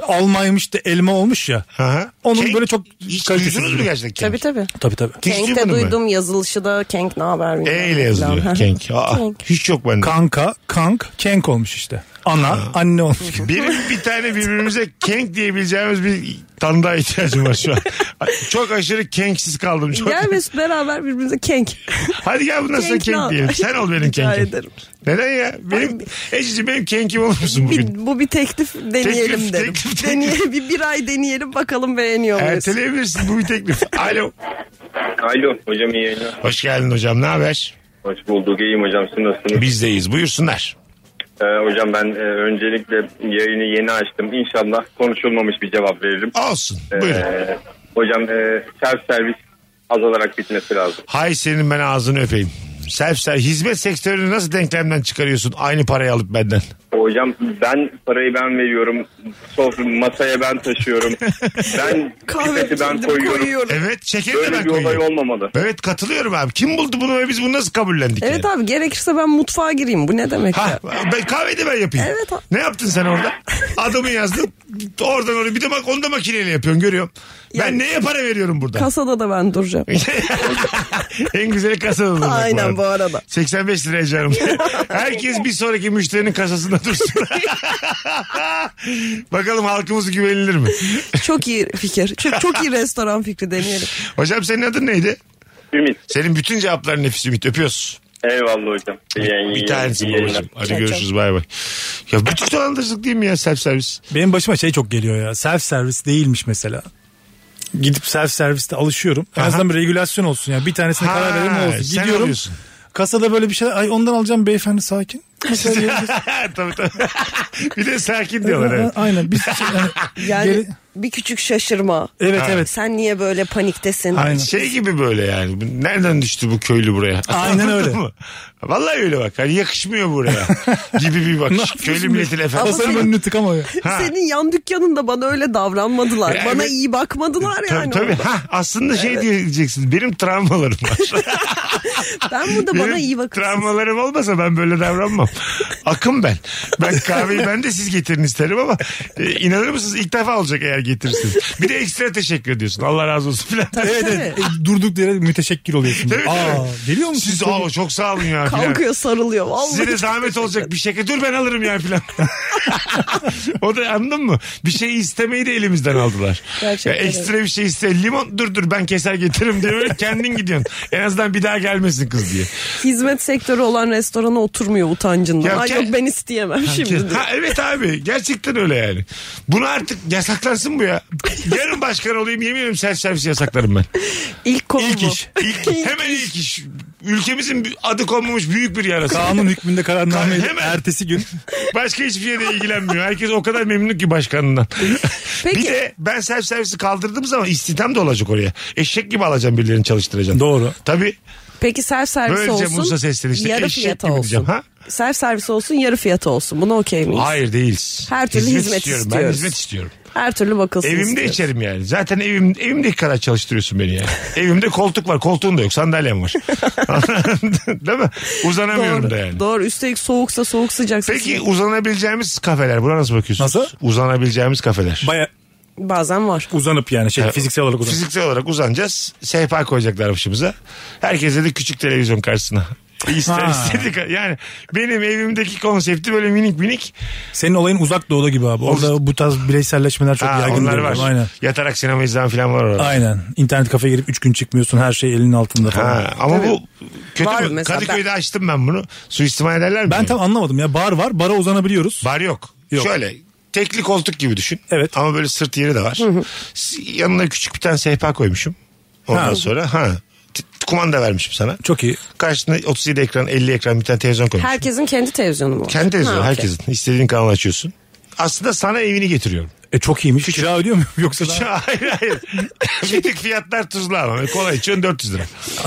Speaker 5: almaymış da elma olmuş ya.
Speaker 3: Hı hı.
Speaker 5: Onun
Speaker 3: Kenk-
Speaker 5: böyle çok
Speaker 3: Hiç
Speaker 5: kalitesiz
Speaker 3: duydunuz mu
Speaker 5: bir-
Speaker 3: gerçekten Kenk?
Speaker 4: Tabii tabii.
Speaker 5: Tabii tabii.
Speaker 3: Hiç
Speaker 4: Kenk
Speaker 3: duymadın
Speaker 4: de
Speaker 3: mı?
Speaker 4: duydum yazılışı da Kenk ne haber bilmem
Speaker 3: E ile
Speaker 4: ne
Speaker 3: yazılıyor
Speaker 4: falan.
Speaker 3: Kenk. Aa,
Speaker 4: Kenk.
Speaker 3: Hiç yok bende.
Speaker 5: Kanka, kank, kenk olmuş işte. Ana, anne olmuş gibi.
Speaker 3: Benim bir tane birbirimize kenk diyebileceğimiz bir tanıdığa ihtiyacım var şu an. Çok aşırı kenksiz kaldım. Çok.
Speaker 4: Gel Mesut beraber birbirimize kenk.
Speaker 3: Hadi gel bundan sonra
Speaker 4: Kenk ne
Speaker 3: kenk
Speaker 4: haber?
Speaker 3: diyelim. Sen ol benim
Speaker 4: Rica
Speaker 3: kenkim.
Speaker 4: ederim.
Speaker 3: Neden ya? Benim, Ececiğim benim kenkim olur musun bugün?
Speaker 4: Bir, bu bir teklif deneyelim
Speaker 3: Teklif,
Speaker 4: derim.
Speaker 3: teklif,
Speaker 4: Deneyelim, bir, bir ay deneyelim bakalım beğeniyor muyuz?
Speaker 3: Erteleyebilirsin bu bir teklif. Alo.
Speaker 6: Alo hocam iyi yayınlar.
Speaker 3: Hoş geldin hocam ne haber?
Speaker 6: Hoş bulduk iyiyim hocam siz nasılsınız?
Speaker 3: Bizdeyiz buyursunlar.
Speaker 6: Ee, hocam ben e, öncelikle yayını yeni açtım. İnşallah konuşulmamış bir cevap veririm.
Speaker 3: Olsun
Speaker 6: Ee,
Speaker 3: buyurun.
Speaker 6: hocam e, self servis azalarak bitmesi lazım.
Speaker 3: Hay senin ben ağzını öpeyim. Self ser- hizmet sektörünü nasıl denklemden çıkarıyorsun aynı parayı alıp benden?
Speaker 6: Hocam ben parayı ben veriyorum. Sofra masaya ben taşıyorum. ben
Speaker 4: Kahve
Speaker 6: pipeti ben
Speaker 4: kendim
Speaker 6: koyuyorum.
Speaker 4: koyuyorum.
Speaker 3: Evet şekeri de
Speaker 6: Böyle
Speaker 3: ben
Speaker 6: bir olay
Speaker 3: koyuyorum.
Speaker 6: olmalı.
Speaker 3: Evet katılıyorum abi. Kim buldu bunu ve biz bunu nasıl kabullendik?
Speaker 4: Evet
Speaker 3: yani?
Speaker 4: abi gerekirse ben mutfağa gireyim. Bu ne demek
Speaker 3: Şey- Ha,
Speaker 4: ya?
Speaker 3: ben kahveyi de ben yapayım.
Speaker 4: Evet abi.
Speaker 3: Ne yaptın sen orada? Adamı yazdın. Oradan oraya bir de bak onu da makineyle yapıyorsun görüyorum. Ben
Speaker 4: Yani-
Speaker 3: neye para veriyorum burada?
Speaker 4: Kasada da ben duracağım.
Speaker 3: en güzeli kasada durmak
Speaker 4: Aynen bu arada.
Speaker 3: 85 liraya canım. Herkes bir sonraki müşterinin kasasında dursun. Bakalım halkımız güvenilir mi?
Speaker 4: Çok iyi fikir. Çok, çok iyi restoran fikri deneyelim.
Speaker 3: Hocam senin adın neydi?
Speaker 6: Ümit.
Speaker 3: Senin bütün cevapların nefis Ümit. Öpüyoruz.
Speaker 6: Eyvallah hocam. İyi yayın- iyi
Speaker 3: Bir tanesi
Speaker 6: yayınlar.
Speaker 3: babacığım. Hadi
Speaker 4: Çay, çay.
Speaker 3: görüşürüz bay bay. Ya bütün dolandırıcılık değil mi ya self servis?
Speaker 5: Benim başıma şey çok geliyor ya. Self servis değilmiş mesela. Gidip self serviste alışıyorum. En
Speaker 3: Aha.
Speaker 5: azından bir regülasyon olsun yani. Bir tanesine
Speaker 3: Ha,
Speaker 5: karar vereyim ne olsun.
Speaker 3: sen
Speaker 5: Gidiyorum.
Speaker 3: alıyorsun.
Speaker 5: Kasada böyle bir şey. Ay ondan alacağım beyefendi sakin.
Speaker 3: tabii tabii. bir de sakin diyorlar evet.
Speaker 5: Aynen. Biz, şey, yani,
Speaker 4: Yani
Speaker 5: geri-
Speaker 4: bir küçük şaşırma.
Speaker 5: evet evet.
Speaker 4: Sen niye böyle paniktesin?
Speaker 5: Aynen.
Speaker 3: Şey gibi böyle yani. Bu- Nereden düştü bu köylü buraya?
Speaker 5: Aynen
Speaker 3: Anladın
Speaker 5: öyle.
Speaker 3: mı? Vallahi öyle bak. Hani yakışmıyor buraya. gibi bir
Speaker 5: Ne
Speaker 3: bakış.
Speaker 5: yapıyorsun
Speaker 3: köylü
Speaker 5: be?
Speaker 3: milletin efendisi.
Speaker 5: Kasanın
Speaker 4: senin-
Speaker 5: önünü tıkama ya.
Speaker 3: Ha.
Speaker 4: Senin yan dükkanında bana öyle davranmadılar.
Speaker 3: Yani-
Speaker 4: bana iyi bakmadılar
Speaker 3: Tabii,
Speaker 4: yani.
Speaker 3: tabii.
Speaker 4: orada.
Speaker 3: Ha, aslında şey diyeceksin. Benim travmalarım var.
Speaker 4: Ben burada
Speaker 3: Benim
Speaker 4: bana iyi bakın.
Speaker 3: Travmalarım olmasa ben böyle davranmam. Akım ben. Ben kahveyi ben de siz getirin isterim ama e, inanır mısınız ilk defa olacak eğer getirirsiniz. Bir de ekstra teşekkür ediyorsun. Allah razı olsun filan.
Speaker 5: Evet evet. E, Durduk yere müteşekkir oluyorsun.
Speaker 3: Tabii,
Speaker 5: Aa,
Speaker 3: tabii.
Speaker 5: geliyor musun?
Speaker 3: Siz aa, çok sağ olun ya filan.
Speaker 4: Kalkıyor sarılıyor.
Speaker 3: Size
Speaker 4: Vallahi.
Speaker 3: de zahmet olacak bir şekilde dur ben alırım ya filan. o da anladın mı? Bir şey istemeyi de elimizden aldılar.
Speaker 4: Gerçekten
Speaker 3: Ya ekstra bir şey iste. Limon dur dur ben keser getiririm diye böyle kendin gidiyorsun. En azından bir daha gelmesin kız diye.
Speaker 4: Hizmet sektörü olan restorana oturmuyor utancından.
Speaker 3: Ya
Speaker 4: Ay
Speaker 3: ke-
Speaker 4: yok ben isteyemem şimdi. diyor.
Speaker 3: Ha, evet abi gerçekten öyle yani. Bunu artık yasaklansın bu ya. Yarın başkan olayım yemin ediyorum self servis yasaklarım ben.
Speaker 4: İlk konu
Speaker 5: İlk
Speaker 4: bu.
Speaker 5: iş.
Speaker 3: İlk, hemen ilk iş. Ülkemizin bir- adı konmamış büyük bir yarası.
Speaker 5: Kanun hükmünde kararname edip
Speaker 3: Hemen.
Speaker 5: ertesi gün
Speaker 3: Başka hiçbir şeyle ilgilenmiyor. Herkes o kadar memnun ki başkanından.
Speaker 4: Peki.
Speaker 3: Bir de ben self servisi kaldırdığım zaman istihdam da olacak oraya. Eşek gibi alacağım birilerini çalıştıracağım.
Speaker 5: Doğru.
Speaker 3: Tabii.
Speaker 4: Peki self servis
Speaker 3: Böylece
Speaker 4: olsun.
Speaker 3: Musa seslenişte
Speaker 4: yarı
Speaker 3: eşek
Speaker 4: fiyata
Speaker 3: gibi
Speaker 4: olsun.
Speaker 3: diyeceğim, ha?
Speaker 4: Self servis olsun yarı fiyata olsun. Buna okey miyiz?
Speaker 3: Hayır değiliz.
Speaker 4: Her türlü hizmet
Speaker 3: istiyorum. Ben
Speaker 4: istiyoruz.
Speaker 3: hizmet istiyorum.
Speaker 4: Her türlü bakılsın
Speaker 3: Evimde
Speaker 4: istiyoruz.
Speaker 3: içerim yani. Zaten evim evimdeki kadar çalıştırıyorsun beni yani. evimde koltuk var. Koltuğun da yok. Sandalyem var. Değil mi? Uzanamıyorum
Speaker 4: Doğru,
Speaker 3: da yani.
Speaker 4: doğru. Üstelik soğuksa soğuk sıcaksa
Speaker 3: Peki uzanabileceğimiz kafeler. Buna nasıl bakıyorsunuz?
Speaker 5: Nasıl?
Speaker 3: Uzanabileceğimiz kafeler.
Speaker 5: baya
Speaker 4: bazen var.
Speaker 5: uzanıp yani şey fiziksel olarak uzanıp.
Speaker 3: Fiziksel olarak uzanacağız. Sehpa koyacaklar başımıza. Herkese de küçük televizyon karşısına. İster
Speaker 5: Ha.
Speaker 3: istedik. Yani benim evimdeki konsepti böyle minik minik.
Speaker 5: Senin olayın uzak doğuda gibi abi. Orada bu tarz bireyselleşmeler çok
Speaker 3: Ha,
Speaker 5: yaygın.
Speaker 3: onlar
Speaker 5: değil mi?
Speaker 3: var.
Speaker 5: Aynen.
Speaker 3: Yatarak sinema izleyen falan var orada.
Speaker 5: Aynen. İnternet kafeye girip 3 gün çıkmıyorsun. Her şey elinin altında falan.
Speaker 3: Ha, ama bu kötü
Speaker 4: Var
Speaker 3: mü?
Speaker 4: mesela
Speaker 3: Kadıköy'de açtım ben bunu. Suistimal ederler mi?
Speaker 5: Ben tam anlamadım ya. Bar var. Bara uzanabiliyoruz.
Speaker 3: Var yok.
Speaker 5: Yok.
Speaker 3: Şöyle tekli koltuk gibi düşün.
Speaker 5: Evet.
Speaker 3: Ama böyle sırt yeri de var. S- Yanına küçük bir tane sehpa koymuşum. Ondan
Speaker 5: Ha.
Speaker 3: sonra ha t- kumanda vermişim sana.
Speaker 5: Çok iyi.
Speaker 3: Karşısına 37 ekran 50 ekran bir tane televizyon koymuşum.
Speaker 4: Herkesin kendi televizyonu mu? var?
Speaker 3: Kendi televizyonu
Speaker 4: Ha, okey.
Speaker 3: herkesin. İstediğin kanalı açıyorsun. Aslında sana evini getiriyorum.
Speaker 5: E çok iyiymiş. Kira ödüyor muyum yoksa daha-
Speaker 3: hayır hayır. bir tık fiyatlar tuzlu ama. Böyle Kola içiyorsun 400 lira.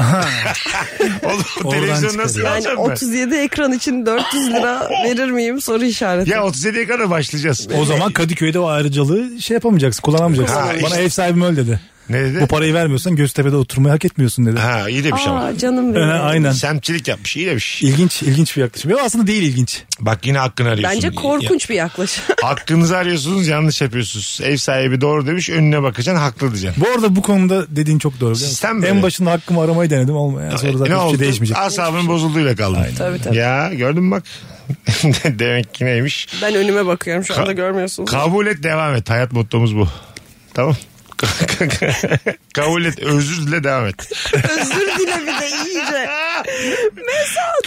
Speaker 3: Oğlum bu
Speaker 5: Oradan
Speaker 3: televizyonu nasıl
Speaker 5: çıkarıyor.
Speaker 4: Yani
Speaker 3: alacağım ben?
Speaker 4: 37 ekran için 400 lira verir miyim soru işareti.
Speaker 3: Ya 37'ye kadar başlayacağız.
Speaker 5: O zaman Kadıköy'de o ayrıcalığı şey yapamayacaksın, kullanamayacaksın.
Speaker 3: Ha,
Speaker 5: Bana
Speaker 3: işte.
Speaker 5: ev sahibim öyle dedi.
Speaker 3: Ne dedi?
Speaker 5: Bu parayı vermiyorsan Göztepe'de oturmayı hak etmiyorsun dedi.
Speaker 3: Ha iyi demiş ama.
Speaker 4: Aa, canım benim.
Speaker 5: Ee, aynen.
Speaker 3: Semçilik yapmış iyi demiş.
Speaker 5: İlginç, ilginç bir yaklaşım. Ama aslında değil ilginç.
Speaker 3: Bak yine hakkını arıyorsun.
Speaker 4: Bence korkunç bir yaklaşım.
Speaker 3: Hakkınızı arıyorsunuz yanlış yapıyorsunuz. Ev sahibi doğru demiş önüne bakacaksın haklı diyeceksin.
Speaker 5: Bu arada bu konuda dediğin çok doğru. biliyor musun?
Speaker 3: Sistem böyle.
Speaker 5: En başında hakkımı aramayı denedim olmuyor. Yani sonra
Speaker 3: E,
Speaker 5: zaten hiçbir şey değişmeyecek.
Speaker 3: Asabın bozulduğuyla kaldım.
Speaker 4: Tabii, tabii.
Speaker 3: Ya gördün mü bak. Demek ki neymiş?
Speaker 4: Ben önüme bakıyorum şu anda
Speaker 3: Ka-
Speaker 4: görmüyorsunuz.
Speaker 3: Kabul et devam et. Hayat mottomuz bu. Tamam. Kabul et özür dile devam et.
Speaker 4: Özür dile bir de iyice.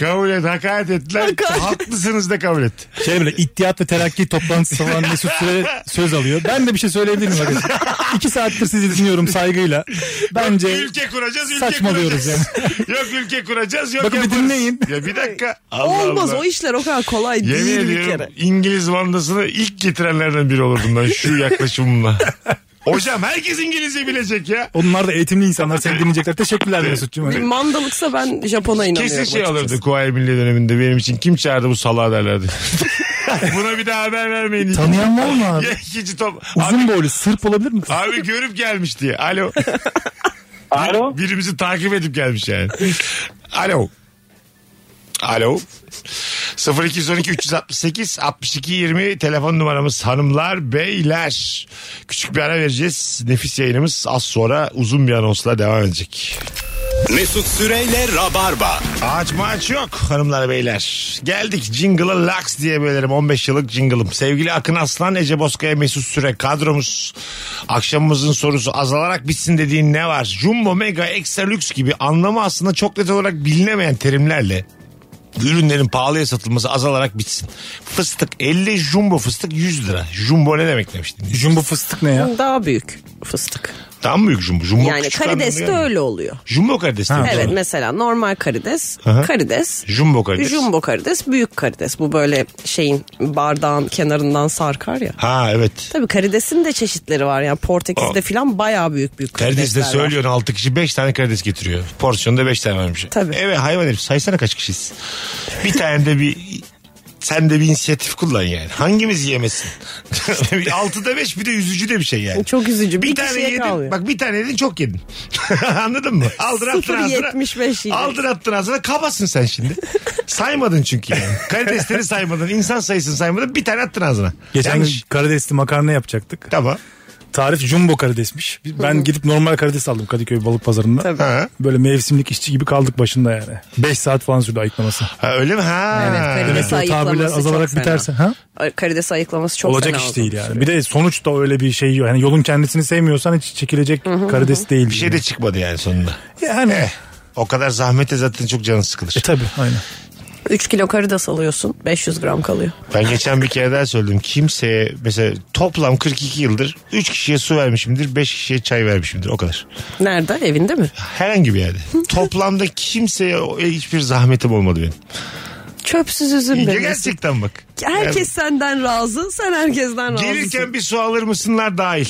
Speaker 3: Kabul et hakaret ettiler.
Speaker 4: Hakaret.
Speaker 3: Haklısınız da kabul et.
Speaker 5: Şey böyle ittihad ve terakki toplantısı falan Mesut Süre söz alıyor. Ben de bir şey söyleyebilirim arkadaşlar. İki saattir sizi dinliyorum saygıyla. Bence
Speaker 3: Ülke kuracağız ülke
Speaker 5: saçmalıyoruz
Speaker 3: kuracağız. yok ülke kuracağız yok
Speaker 5: Bakın bir
Speaker 3: yaparız.
Speaker 5: dinleyin.
Speaker 3: Ya bir dakika. Allah
Speaker 4: Olmaz
Speaker 3: Allah.
Speaker 4: o işler o kadar kolay
Speaker 3: Yemin
Speaker 4: değil bir
Speaker 3: ediyorum
Speaker 4: kere.
Speaker 3: İngiliz vandasını ilk getirenlerden biri olurdum ben şu yaklaşımımla. Hocam herkes İngilizce bilecek ya.
Speaker 5: onlar da eğitimli insanlar seni dinleyecekler. Teşekkürler Mesut'cum. Hani
Speaker 4: Bir mandalıksa ben Japon'a inanıyorum.
Speaker 3: Kesin şey
Speaker 4: açıkçası.
Speaker 3: alırdı Kuvayi Milli döneminde benim için kim çağırdı bu salağı derlerdi. Buna bir daha haber vermeyin.
Speaker 5: Tanıyan var mı abi?
Speaker 3: Ya ikinci top. Abi,
Speaker 5: Uzun boylu Sırp olabilir mi?
Speaker 3: abi görüp gelmiş diye. Alo.
Speaker 7: Alo.
Speaker 3: Birimizi takip edip gelmiş yani. Alo. Alo. 0212 368 62 20 telefon numaramız hanımlar beyler. Küçük bir ara vereceğiz. Nefis yayınımız az sonra uzun bir anonsla devam edecek.
Speaker 2: Mesut Süreyle Rabarba.
Speaker 3: Ağaç maç yok hanımlar beyler. Geldik jingle'a lax diye bölerim 15 yıllık jingle'ım. Sevgili Akın Aslan, Ece Bozkaya, Mesut Süre kadromuz. Akşamımızın sorusu azalarak bitsin dediğin ne var? Jumbo, Mega, Extra, Lüks gibi anlamı aslında çok net olarak bilinemeyen terimlerle ürünlerin pahalıya satılması azalarak bitsin. Fıstık 50, jumbo fıstık 100 lira. Jumbo ne demek demiştin?
Speaker 5: Jumbo fıstık ne ya?
Speaker 4: Daha büyük fıstık.
Speaker 3: Tam büyük jumbo. jumbo
Speaker 4: yani
Speaker 3: küçük
Speaker 4: karides
Speaker 3: anlamı
Speaker 4: de
Speaker 3: yani.
Speaker 4: öyle oluyor.
Speaker 3: Jumbo karides. değil mi?
Speaker 4: Evet mesela normal karides,
Speaker 3: Aha.
Speaker 4: karides,
Speaker 3: Jumbo karides.
Speaker 4: jumbo karides, büyük karides. Bu böyle şeyin bardağın kenarından sarkar ya.
Speaker 3: Ha evet.
Speaker 4: Tabii karidesin de çeşitleri var yani Portekiz'de filan bayağı büyük büyük karidesler
Speaker 3: Karides de
Speaker 4: var.
Speaker 3: söylüyorsun 6 kişi 5 tane karides getiriyor. Porsiyonda 5 tane vermiş.
Speaker 4: Tabii.
Speaker 3: Evet hayvan herif saysana kaç kişiyiz. Bir tane de bir sen de bir inisiyatif kullan yani. Hangimiz yemesin? 6'da 5 bir de üzücü de bir şey yani.
Speaker 4: Çok üzücü.
Speaker 3: Bir,
Speaker 4: Bir
Speaker 3: tane
Speaker 4: kişiye
Speaker 3: yedin.
Speaker 4: kalıyor.
Speaker 3: Bak bir tane yedin çok yedin. Anladın mı? Aldın attın ağzına.
Speaker 4: 0.75 yiyeceksin.
Speaker 3: Aldın attın ağzına. Kabasın sen şimdi. saymadın çünkü yani. Karidesleri saymadın. insan sayısını saymadın. Bir tane attın ağzına.
Speaker 5: Geçen gün
Speaker 3: Yanlış.
Speaker 5: karidesli makarna yapacaktık.
Speaker 3: Tamam.
Speaker 5: Tarif jumbo karidesmiş. Ben gidip normal karides aldım Kadıköy balık pazarında.
Speaker 4: Tabii.
Speaker 3: Ha.
Speaker 5: Böyle mevsimlik işçi gibi kaldık başında yani. 5 saat falan sürdü ayıklaması.
Speaker 3: Ha, öyle mi? Ha.
Speaker 4: Evet karides
Speaker 5: Demek ki o tabirler
Speaker 4: ayıklaması
Speaker 5: azalarak
Speaker 4: çok fena.
Speaker 5: biterse, ha?
Speaker 4: Ay, Karides ayıklaması çok
Speaker 5: Olacak
Speaker 4: fena
Speaker 5: iş
Speaker 4: oldu.
Speaker 5: değil yani. Bir de sonuçta öyle bir şey yok. Yani yolun kendisini sevmiyorsan hiç çekilecek karides değil.
Speaker 3: Bir şey Eh. de çıkmadı yani sonunda.
Speaker 5: yani.
Speaker 3: O kadar zahmete zaten çok canın sıkılır.
Speaker 5: E tabi aynen.
Speaker 4: 3 kilo karides alıyorsun 500 gram kalıyor.
Speaker 3: Ben geçen bir kere daha söyledim. Kimseye mesela toplam 42 yıldır 3 kişiye su vermişimdir, 5 kişiye çay vermişimdir. O kadar.
Speaker 4: Nerede evinde mi?
Speaker 3: Herhangi bir yerde. Toplamda kimseye o- e, hiçbir zahmetim olmadı benim.
Speaker 4: Çöpsüz üzüm
Speaker 3: Ya
Speaker 4: benim.
Speaker 3: gerçekten bak.
Speaker 4: Herkes senden razı sen herkesten razısın.
Speaker 3: Gelirken bir su alır mısınlar dahil.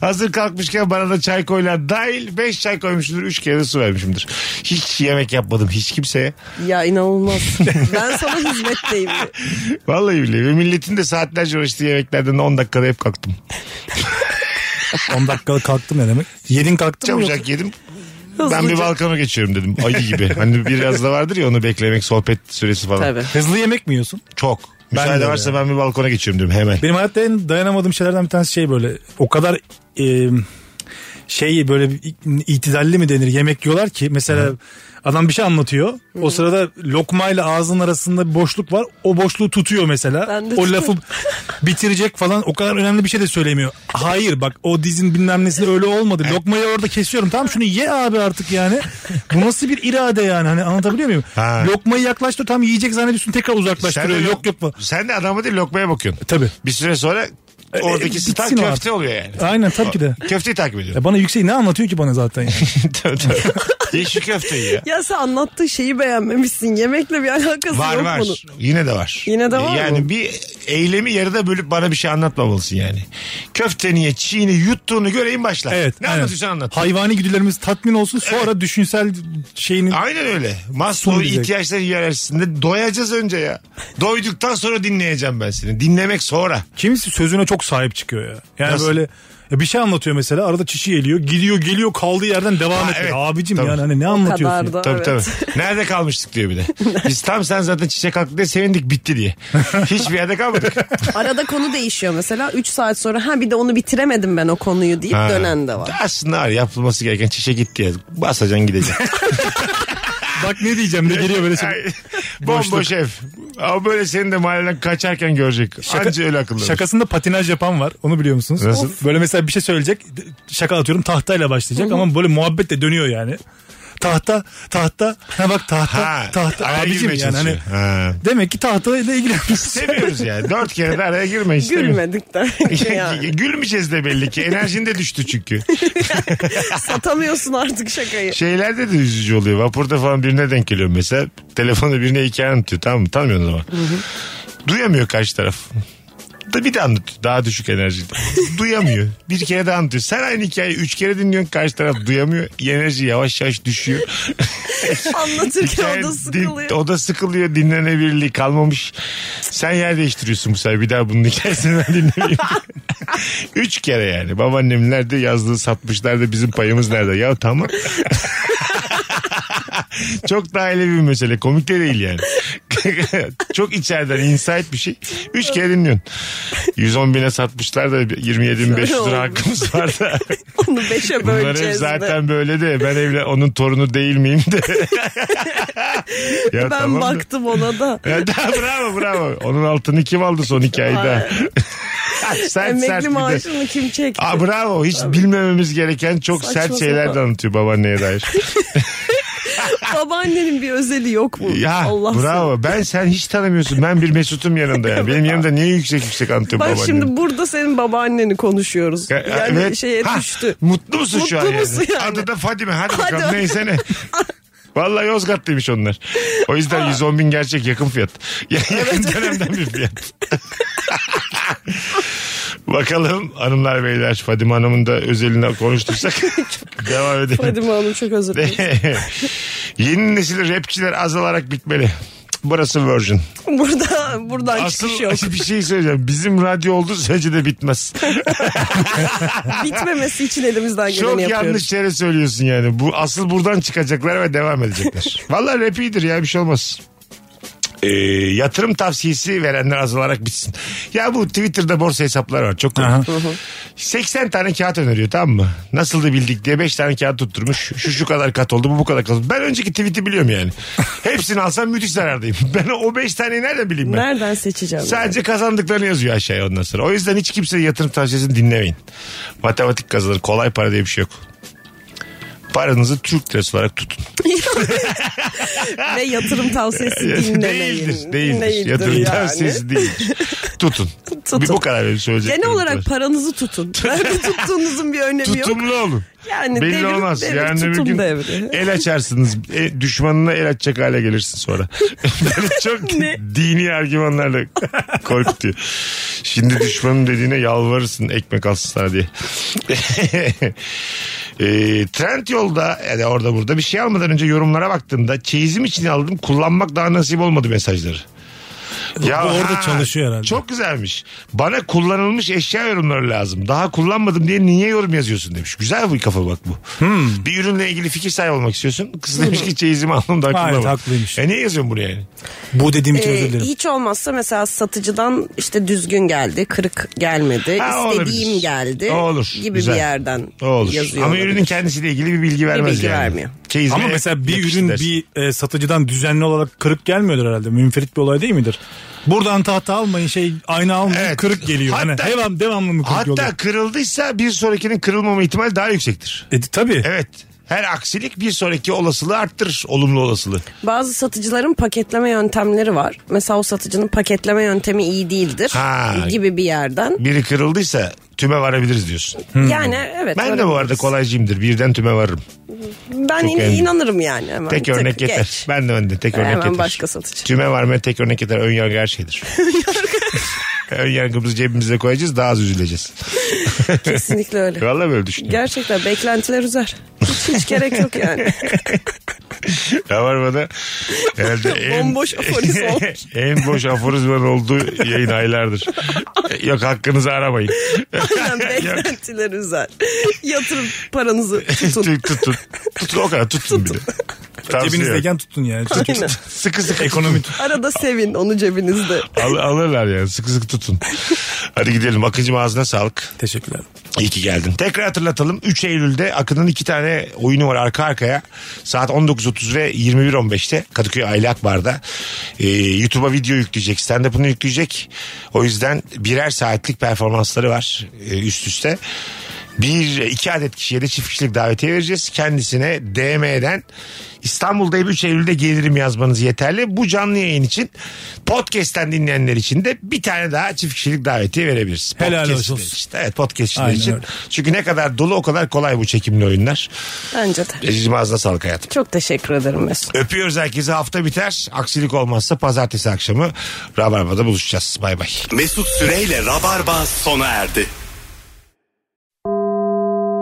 Speaker 3: Hazır kalkmışken bana da çay koylar dahil. 5 çay koymuşumdur, 3 kere de su vermişimdir. Hiç yemek yapmadım hiç kimseye.
Speaker 4: Ya inanılmaz. ben sana hizmetteyim.
Speaker 3: Vallahi billahi. Ve milletin de saatlerce uğraştığı yemeklerden 10 dakikada hep kalktım.
Speaker 5: 10 dakikalık kalktım ne demek? Yedin kalktın mı?
Speaker 3: Çabucak
Speaker 5: Yok.
Speaker 3: yedim. Ben
Speaker 4: Hızlıca.
Speaker 3: bir balkona geçiyorum dedim. Ayı gibi. Hani biraz da vardır ya onu beklemek sohbet süresi falan.
Speaker 4: Tabii.
Speaker 5: Hızlı yemek mi yiyorsun?
Speaker 3: Çok.
Speaker 5: Ben
Speaker 3: Müsaade
Speaker 5: de
Speaker 3: varsa ben bir balkona geçiyorum dedim hemen.
Speaker 5: Benim hayatta en dayanamadığım şeylerden bir tanesi şey böyle. O kadar e, şey böyle bir itidalli mi denir yemek yiyorlar ki mesela adam bir şey anlatıyor. O sırada lokmayla ağzının arasında bir boşluk var. O boşluğu tutuyor mesela.
Speaker 4: Ben de
Speaker 5: o
Speaker 4: tutuyorum.
Speaker 5: lafı bitirecek falan. O kadar önemli bir şey de söylemiyor. Hayır bak o dizin bilmem nesinde öyle olmadı. Lokmayı orada kesiyorum. Tamam şunu ye abi artık yani. Bu nasıl bir irade yani? Hani anlatabiliyor muyum?
Speaker 3: Ha.
Speaker 5: Lokmayı yaklaştır tam yiyecek zannediyorsun tekrar uzaklaştırıyor.
Speaker 3: de-
Speaker 5: yok yok mu?
Speaker 3: Sen de adama değil lokmaya bakıyorsun.
Speaker 5: Tabii.
Speaker 3: Bir süre sonra Oradaki star
Speaker 5: bitsin o
Speaker 3: köfte oluyor yani.
Speaker 5: Aynen tabii ki de.
Speaker 3: Köfteyi takip ediyorum.
Speaker 5: Ya E bana yüksek ne anlatıyor ki bana zaten yani.
Speaker 3: Tabii, tabii. Yeşil köfteyi ya.
Speaker 4: Ya sen anlattığı şeyi beğenmemişsin. Yemekle bir alakası
Speaker 3: Var
Speaker 4: yok
Speaker 3: var.
Speaker 4: bunun.
Speaker 3: Yine de var. E,
Speaker 4: Yine de var
Speaker 3: Yani
Speaker 4: mı?
Speaker 3: bir eylemi yarıda bölüp bana bir şey anlatmamalısın yani. Köfteni ye, çiğni yuttuğunu göreyim başlar.
Speaker 5: Evet.
Speaker 3: ne
Speaker 5: aynen.
Speaker 3: anlatıyorsan anlat.
Speaker 5: Hayvani güdülerimiz tatmin olsun sonra düşünsel şeyini
Speaker 3: Aynen öyle. Maslow
Speaker 5: diyecek.
Speaker 3: ihtiyaçları hiyerarşisinde doyacağız önce ya. Doyduktan sonra dinleyeceğim ben seni. Dinlemek sonra.
Speaker 5: kimisi sözüne çok sahip çıkıyor ya. Yani
Speaker 3: Nasıl?
Speaker 5: böyle ya bir şey anlatıyor mesela arada çişi eliyor gidiyor geliyor kaldığı yerden devam
Speaker 3: Ha,
Speaker 5: etmiyor.
Speaker 3: evet.
Speaker 5: Abicim
Speaker 3: Tabii.
Speaker 5: yani hani ne anlatıyorsun?
Speaker 4: kadar da.
Speaker 3: Tabii
Speaker 4: Evet.
Speaker 3: tabii. Nerede kalmıştık diyor bir de. Biz tam sen zaten çiçek kalktı diye sevindik bitti diye. Hiçbir yerde kalmadık.
Speaker 4: Arada konu değişiyor mesela. 3 saat sonra ha bir de onu bitiremedim ben o konuyu deyip
Speaker 3: Ha.
Speaker 4: dönen de var.
Speaker 3: Aslında var, yapılması gereken çişe gitti ya. Basacaksın gideceksin.
Speaker 5: Bak ne diyeceğim ne geliyor böyle şey.
Speaker 3: Ay, Bomboş ev. Ama böyle seni de mahalleden kaçarken görecek. Anca öyle akıllı. olur.
Speaker 5: Şakasında patinaj yapan var. Onu biliyor musunuz?
Speaker 3: Nasıl?
Speaker 5: Böyle mesela bir şey söyleyecek. Şaka atıyorum tahtayla başlayacak ama böyle muhabbet de dönüyor yani. Tahta, tahta, ha bak tahta,
Speaker 3: Ha,
Speaker 5: tahta.
Speaker 3: araya
Speaker 5: Abicim
Speaker 3: girmeye
Speaker 5: yani hani.
Speaker 3: çalışıyor. Ha.
Speaker 5: Demek ki tahtayla ilgilenmişsin.
Speaker 3: Seviyoruz yani. Dört kere de araya girme istemiyorum.
Speaker 4: Gülmedik de. yani.
Speaker 3: Gülmeyeceğiz de belli ki. Enerjin de düştü çünkü.
Speaker 4: Satamıyorsun artık şakayı.
Speaker 3: Şeylerde de üzücü oluyor. Vapurda falan birine denk geliyor mesela. Telefonda birine hikaye anlatıyor tamam mı? Tanımıyorsun ama. Duyamıyor karşı taraf. Da bir de anlatıyor. Daha düşük enerjili. duyamıyor. Bir kere daha anlatıyor. Sen aynı hikayeyi üç kere dinliyorsun. Karşı taraf duyamıyor. Enerji yavaş yavaş düşüyor.
Speaker 4: Anlatırken o da
Speaker 3: Din-
Speaker 4: sıkılıyor.
Speaker 3: o da sıkılıyor. Dinlenebilirliği kalmamış. Sen yer değiştiriyorsun bu sefer. Bir daha bunun hikayesini ben dinlemeyeyim. Üç kere yani. Babaannem nerede yazdığı satmışlar da bizim payımız nerede? Ya tamam. Çok daha ele bir mesele. Komik de değil yani. Çok içeriden insight bir şey. Üç kere dinliyorsun. 110 bine satmışlar da 27 bin 500 lira
Speaker 4: Şöyle olmuş.
Speaker 3: hakkımız var da.
Speaker 4: Onu beşe
Speaker 3: Bunlar hep
Speaker 4: böleceğiz de.
Speaker 3: zaten böyle de ben evle onun torunu değil miyim de. Ya
Speaker 4: Ben
Speaker 3: tamam da.
Speaker 4: baktım ona da.
Speaker 3: Ya da- bravo bravo. Onun altını kim aldı son hikayede? sert sert
Speaker 4: Emekli
Speaker 3: bir de.
Speaker 4: maaşını kim çekti?
Speaker 3: Aa, bravo hiç bilmememiz gereken çok
Speaker 4: Saçma
Speaker 3: sert şeyler de
Speaker 4: sapan.
Speaker 3: anlatıyor babaanneye dair.
Speaker 4: Babaannenin bir özeli yok mu?
Speaker 3: ya
Speaker 4: Allah seni-
Speaker 3: bravo ben sen hiç tanımıyorsun ben bir Mesut'um yanında yani. Benim yanımda niye yüksek yüksek anlatıyor
Speaker 4: Bak
Speaker 3: babaannem?
Speaker 4: şimdi burada senin babaanneni konuşuyoruz.
Speaker 3: Ya,
Speaker 4: Yani
Speaker 3: evet.
Speaker 4: şeye
Speaker 3: Ha,
Speaker 4: düştü.
Speaker 3: Mutlu musun şu an
Speaker 4: Mutlu musun
Speaker 3: yani?
Speaker 4: yani?
Speaker 3: Adı da Fadime. Hadi,
Speaker 4: Hadi
Speaker 3: bakalım
Speaker 4: öyle.
Speaker 3: neyse ne. Valla Yozgatlıymış onlar. O yüzden 110 bin gerçek yakın fiyat. Ya- yakın dönemden bir fiyat. Bakalım hanımlar beyler Fadime Hanım'ın da özeline konuştursak devam edelim.
Speaker 4: Fadime Hanım çok özür dilerim.
Speaker 3: Yeni nesil rapçiler azalarak bitmeli. Burası Virgin.
Speaker 4: Burada, buradan
Speaker 3: Asıl
Speaker 4: çıkış yok.
Speaker 3: bir şey söyleyeceğim. Bizim radyo olduğu sürece de bitmez.
Speaker 4: Bitmemesi için elimizden geleni
Speaker 3: Çok
Speaker 4: yapıyoruz.
Speaker 3: yanlış yere söylüyorsun yani. Bu asıl buradan çıkacaklar ve devam edecekler. Vallahi rap iyidir ya bir şey olmaz. Ee, yatırım tavsiyesi verenler azalarak bitsin. Ya bu Twitter'da borsa hesapları var çok komik.
Speaker 5: Aha.
Speaker 3: 80 tane kağıt öneriyor tamam mı? Nasıl da bildik diye 5 tane kağıt tutturmuş. Şu şu kadar kat oldu bu bu kadar kat oldu. Ben önceki tweet'i biliyorum yani. Hepsini alsam müthiş zarardayım. Ben o 5 taneyi nereden bileyim ben?
Speaker 4: Nereden seçeceğim?
Speaker 3: Sadece kazandıklarını yazıyor aşağıya ondan sonra. O yüzden hiç kimseye yatırım tavsiyesini dinlemeyin. Matematik kazanır. Kolay para diye bir şey yok. Paranızı Türk lirası olarak tutun.
Speaker 4: Ve yatırım tavsiyesi dinlemeyin.
Speaker 3: değildir. Değildir.
Speaker 4: Değildir
Speaker 3: yatırım
Speaker 4: yani.
Speaker 3: tavsiyesi değildir. tutun.
Speaker 4: Tutun.
Speaker 3: Bir bu kadar benim söyleyeceklerim.
Speaker 4: Genel olarak
Speaker 3: Tutun.
Speaker 4: paranızı tutun. Nerede tuttuğunuzun bir önemi yok.
Speaker 3: Tutumlu olun.
Speaker 4: Yani
Speaker 3: Belli
Speaker 4: devir-
Speaker 3: olmaz.
Speaker 4: devir
Speaker 3: Yarın öbür
Speaker 4: tutum
Speaker 3: gün
Speaker 4: devri.
Speaker 3: el açarsınız. E, düşmanına el açacak hale gelirsin sonra. Böyle çok dini argümanlarla korkutuyor. Şimdi düşmanın dediğine yalvarırsın ekmek alsın sana diye. e, trend yolda yani orada burada bir şey almadan önce yorumlara baktığımda çeyizim için aldım kullanmak daha nasip olmadı mesajları.
Speaker 5: Bu orada çalışıyor herhalde.
Speaker 3: Çok güzelmiş. Bana kullanılmış eşya yorumları lazım. Daha kullanmadım diye niye yorum yazıyorsun demiş. Güzel bir kafa bak bu.
Speaker 5: Hmm.
Speaker 3: Bir ürünle ilgili fikir sahibi olmak istiyorsun. Kız demiş ki çeyizimi aldım daha
Speaker 5: Gayet
Speaker 3: kullanmadım.
Speaker 5: haklıymış.
Speaker 3: E niye yazıyorsun bunu yani?
Speaker 5: Bu dediğim için
Speaker 4: Ee,
Speaker 5: özür dilerim.
Speaker 4: hiç olmazsa mesela satıcıdan işte düzgün geldi, kırık gelmedi,
Speaker 3: Ha, olabilir.
Speaker 4: istediğim geldi
Speaker 3: O olur,
Speaker 4: gibi
Speaker 3: güzel.
Speaker 4: bir yerden
Speaker 3: O olur.
Speaker 4: yazıyor.
Speaker 3: Ama
Speaker 4: olabilir.
Speaker 3: ürünün kendisiyle ilgili bir bilgi vermez
Speaker 4: bilgi
Speaker 3: yani.
Speaker 4: vermiyor.
Speaker 3: Çeyizime
Speaker 5: Ama mesela bir
Speaker 3: yakıştı
Speaker 5: ürün
Speaker 3: dersin.
Speaker 5: bir e, satıcıdan düzenli olarak kırık gelmiyordur herhalde. Münferit bir olay değil midir? Buradan tahta almayın şey ayna almayın
Speaker 3: Evet.
Speaker 5: kırık geliyor.
Speaker 3: Hatta-
Speaker 5: hani devam, devamlı mı kırık
Speaker 3: Hatta
Speaker 5: yolda?
Speaker 3: kırıldıysa bir sonrakinin kırılmama ihtimali daha yüksektir.
Speaker 5: E, tabii.
Speaker 3: Evet. Her aksilik bir sonraki olasılığı arttırır. Olumlu olasılığı.
Speaker 4: Bazı satıcıların paketleme yöntemleri var. Mesela o satıcının paketleme yöntemi iyi değildir
Speaker 3: Ha.
Speaker 4: gibi bir yerden.
Speaker 3: Biri kırıldıysa tüme varabiliriz diyorsun.
Speaker 4: Yani evet.
Speaker 3: Hmm. Ben de bu
Speaker 4: varabiliriz.
Speaker 3: arada kolaycıyımdır. Birden tüme varırım.
Speaker 4: Ben
Speaker 3: Çok
Speaker 4: in-
Speaker 3: eminim.
Speaker 4: inanırım yani. Hemen.
Speaker 3: Tek
Speaker 4: Tık,
Speaker 3: örnek yeter.
Speaker 4: geç.
Speaker 3: Ben de önde tek örnek
Speaker 4: Hemen
Speaker 3: yeter.
Speaker 4: başka satıcı.
Speaker 3: Tüme varmaya tek örnek yeter. Ön yargı her şeydir. Ön yargımızı cebimize koyacağız daha az üzüleceğiz.
Speaker 4: Kesinlikle öyle.
Speaker 3: Vallahi böyle düşünüyorum.
Speaker 4: Gerçekten beklentiler üzer. Hiç, hiç gerek yok yani.
Speaker 3: Rabarba'da herhalde en,
Speaker 4: Bomboş aforiz olmuş.
Speaker 3: en boş aforizmanın olduğu yayın aylardır. Yok hakkınızı aramayın.
Speaker 4: Aynen beklentiler üzer. Yatırın paranızı tutun.
Speaker 3: tutun. tutun. Tutun o kadar tutun, bir de. Tavsiye yok.
Speaker 5: Cebinizdeyken tutun yani. Çünkü
Speaker 4: Aynen.
Speaker 3: Sıkı sıkı ekonomi
Speaker 4: Arada sevin onu cebinizde.
Speaker 3: Al, alırlar yani sıkı sıkı tutun. Hadi gidelim Akıncım ağzına sağlık.
Speaker 5: Teşekkürler.
Speaker 3: İyi ki geldin. Tekrar hatırlatalım 3 Eylül'de Akın'ın iki tane oyunu var arka arkaya. Saat 19.30 ve 21.15'te Kadıköy Aylak Bar'da. Ee, YouTube'a video yükleyecek, stand-up'ını yükleyecek. O yüzden birer saatlik performansları var e, üst üste. Bir, iki adet kişiye de çift kişilik davetiye vereceğiz. Kendisine DM'den İstanbul'da 3 Eylül'de gelirim yazmanız yeterli. Bu canlı yayın için podcast'ten dinleyenler için de bir tane daha çift kişilik davetiye verebiliriz.
Speaker 5: Helal
Speaker 3: Podcast'ler
Speaker 5: olsun.
Speaker 3: için. Evet podcastçiler
Speaker 5: Aynen
Speaker 3: için.
Speaker 5: öyle.
Speaker 3: Çünkü ne kadar dolu o kadar kolay bu çekimli oyunlar.
Speaker 4: Bence de.
Speaker 3: Ececiğim ağzına sağlık hayatım.
Speaker 4: Çok teşekkür ederim Mesut.
Speaker 3: Öpüyoruz herkese hafta biter. Aksilik olmazsa pazartesi akşamı Rabarba'da buluşacağız. Bay bay.
Speaker 2: Mesut Süreyle Rabarba sona erdi.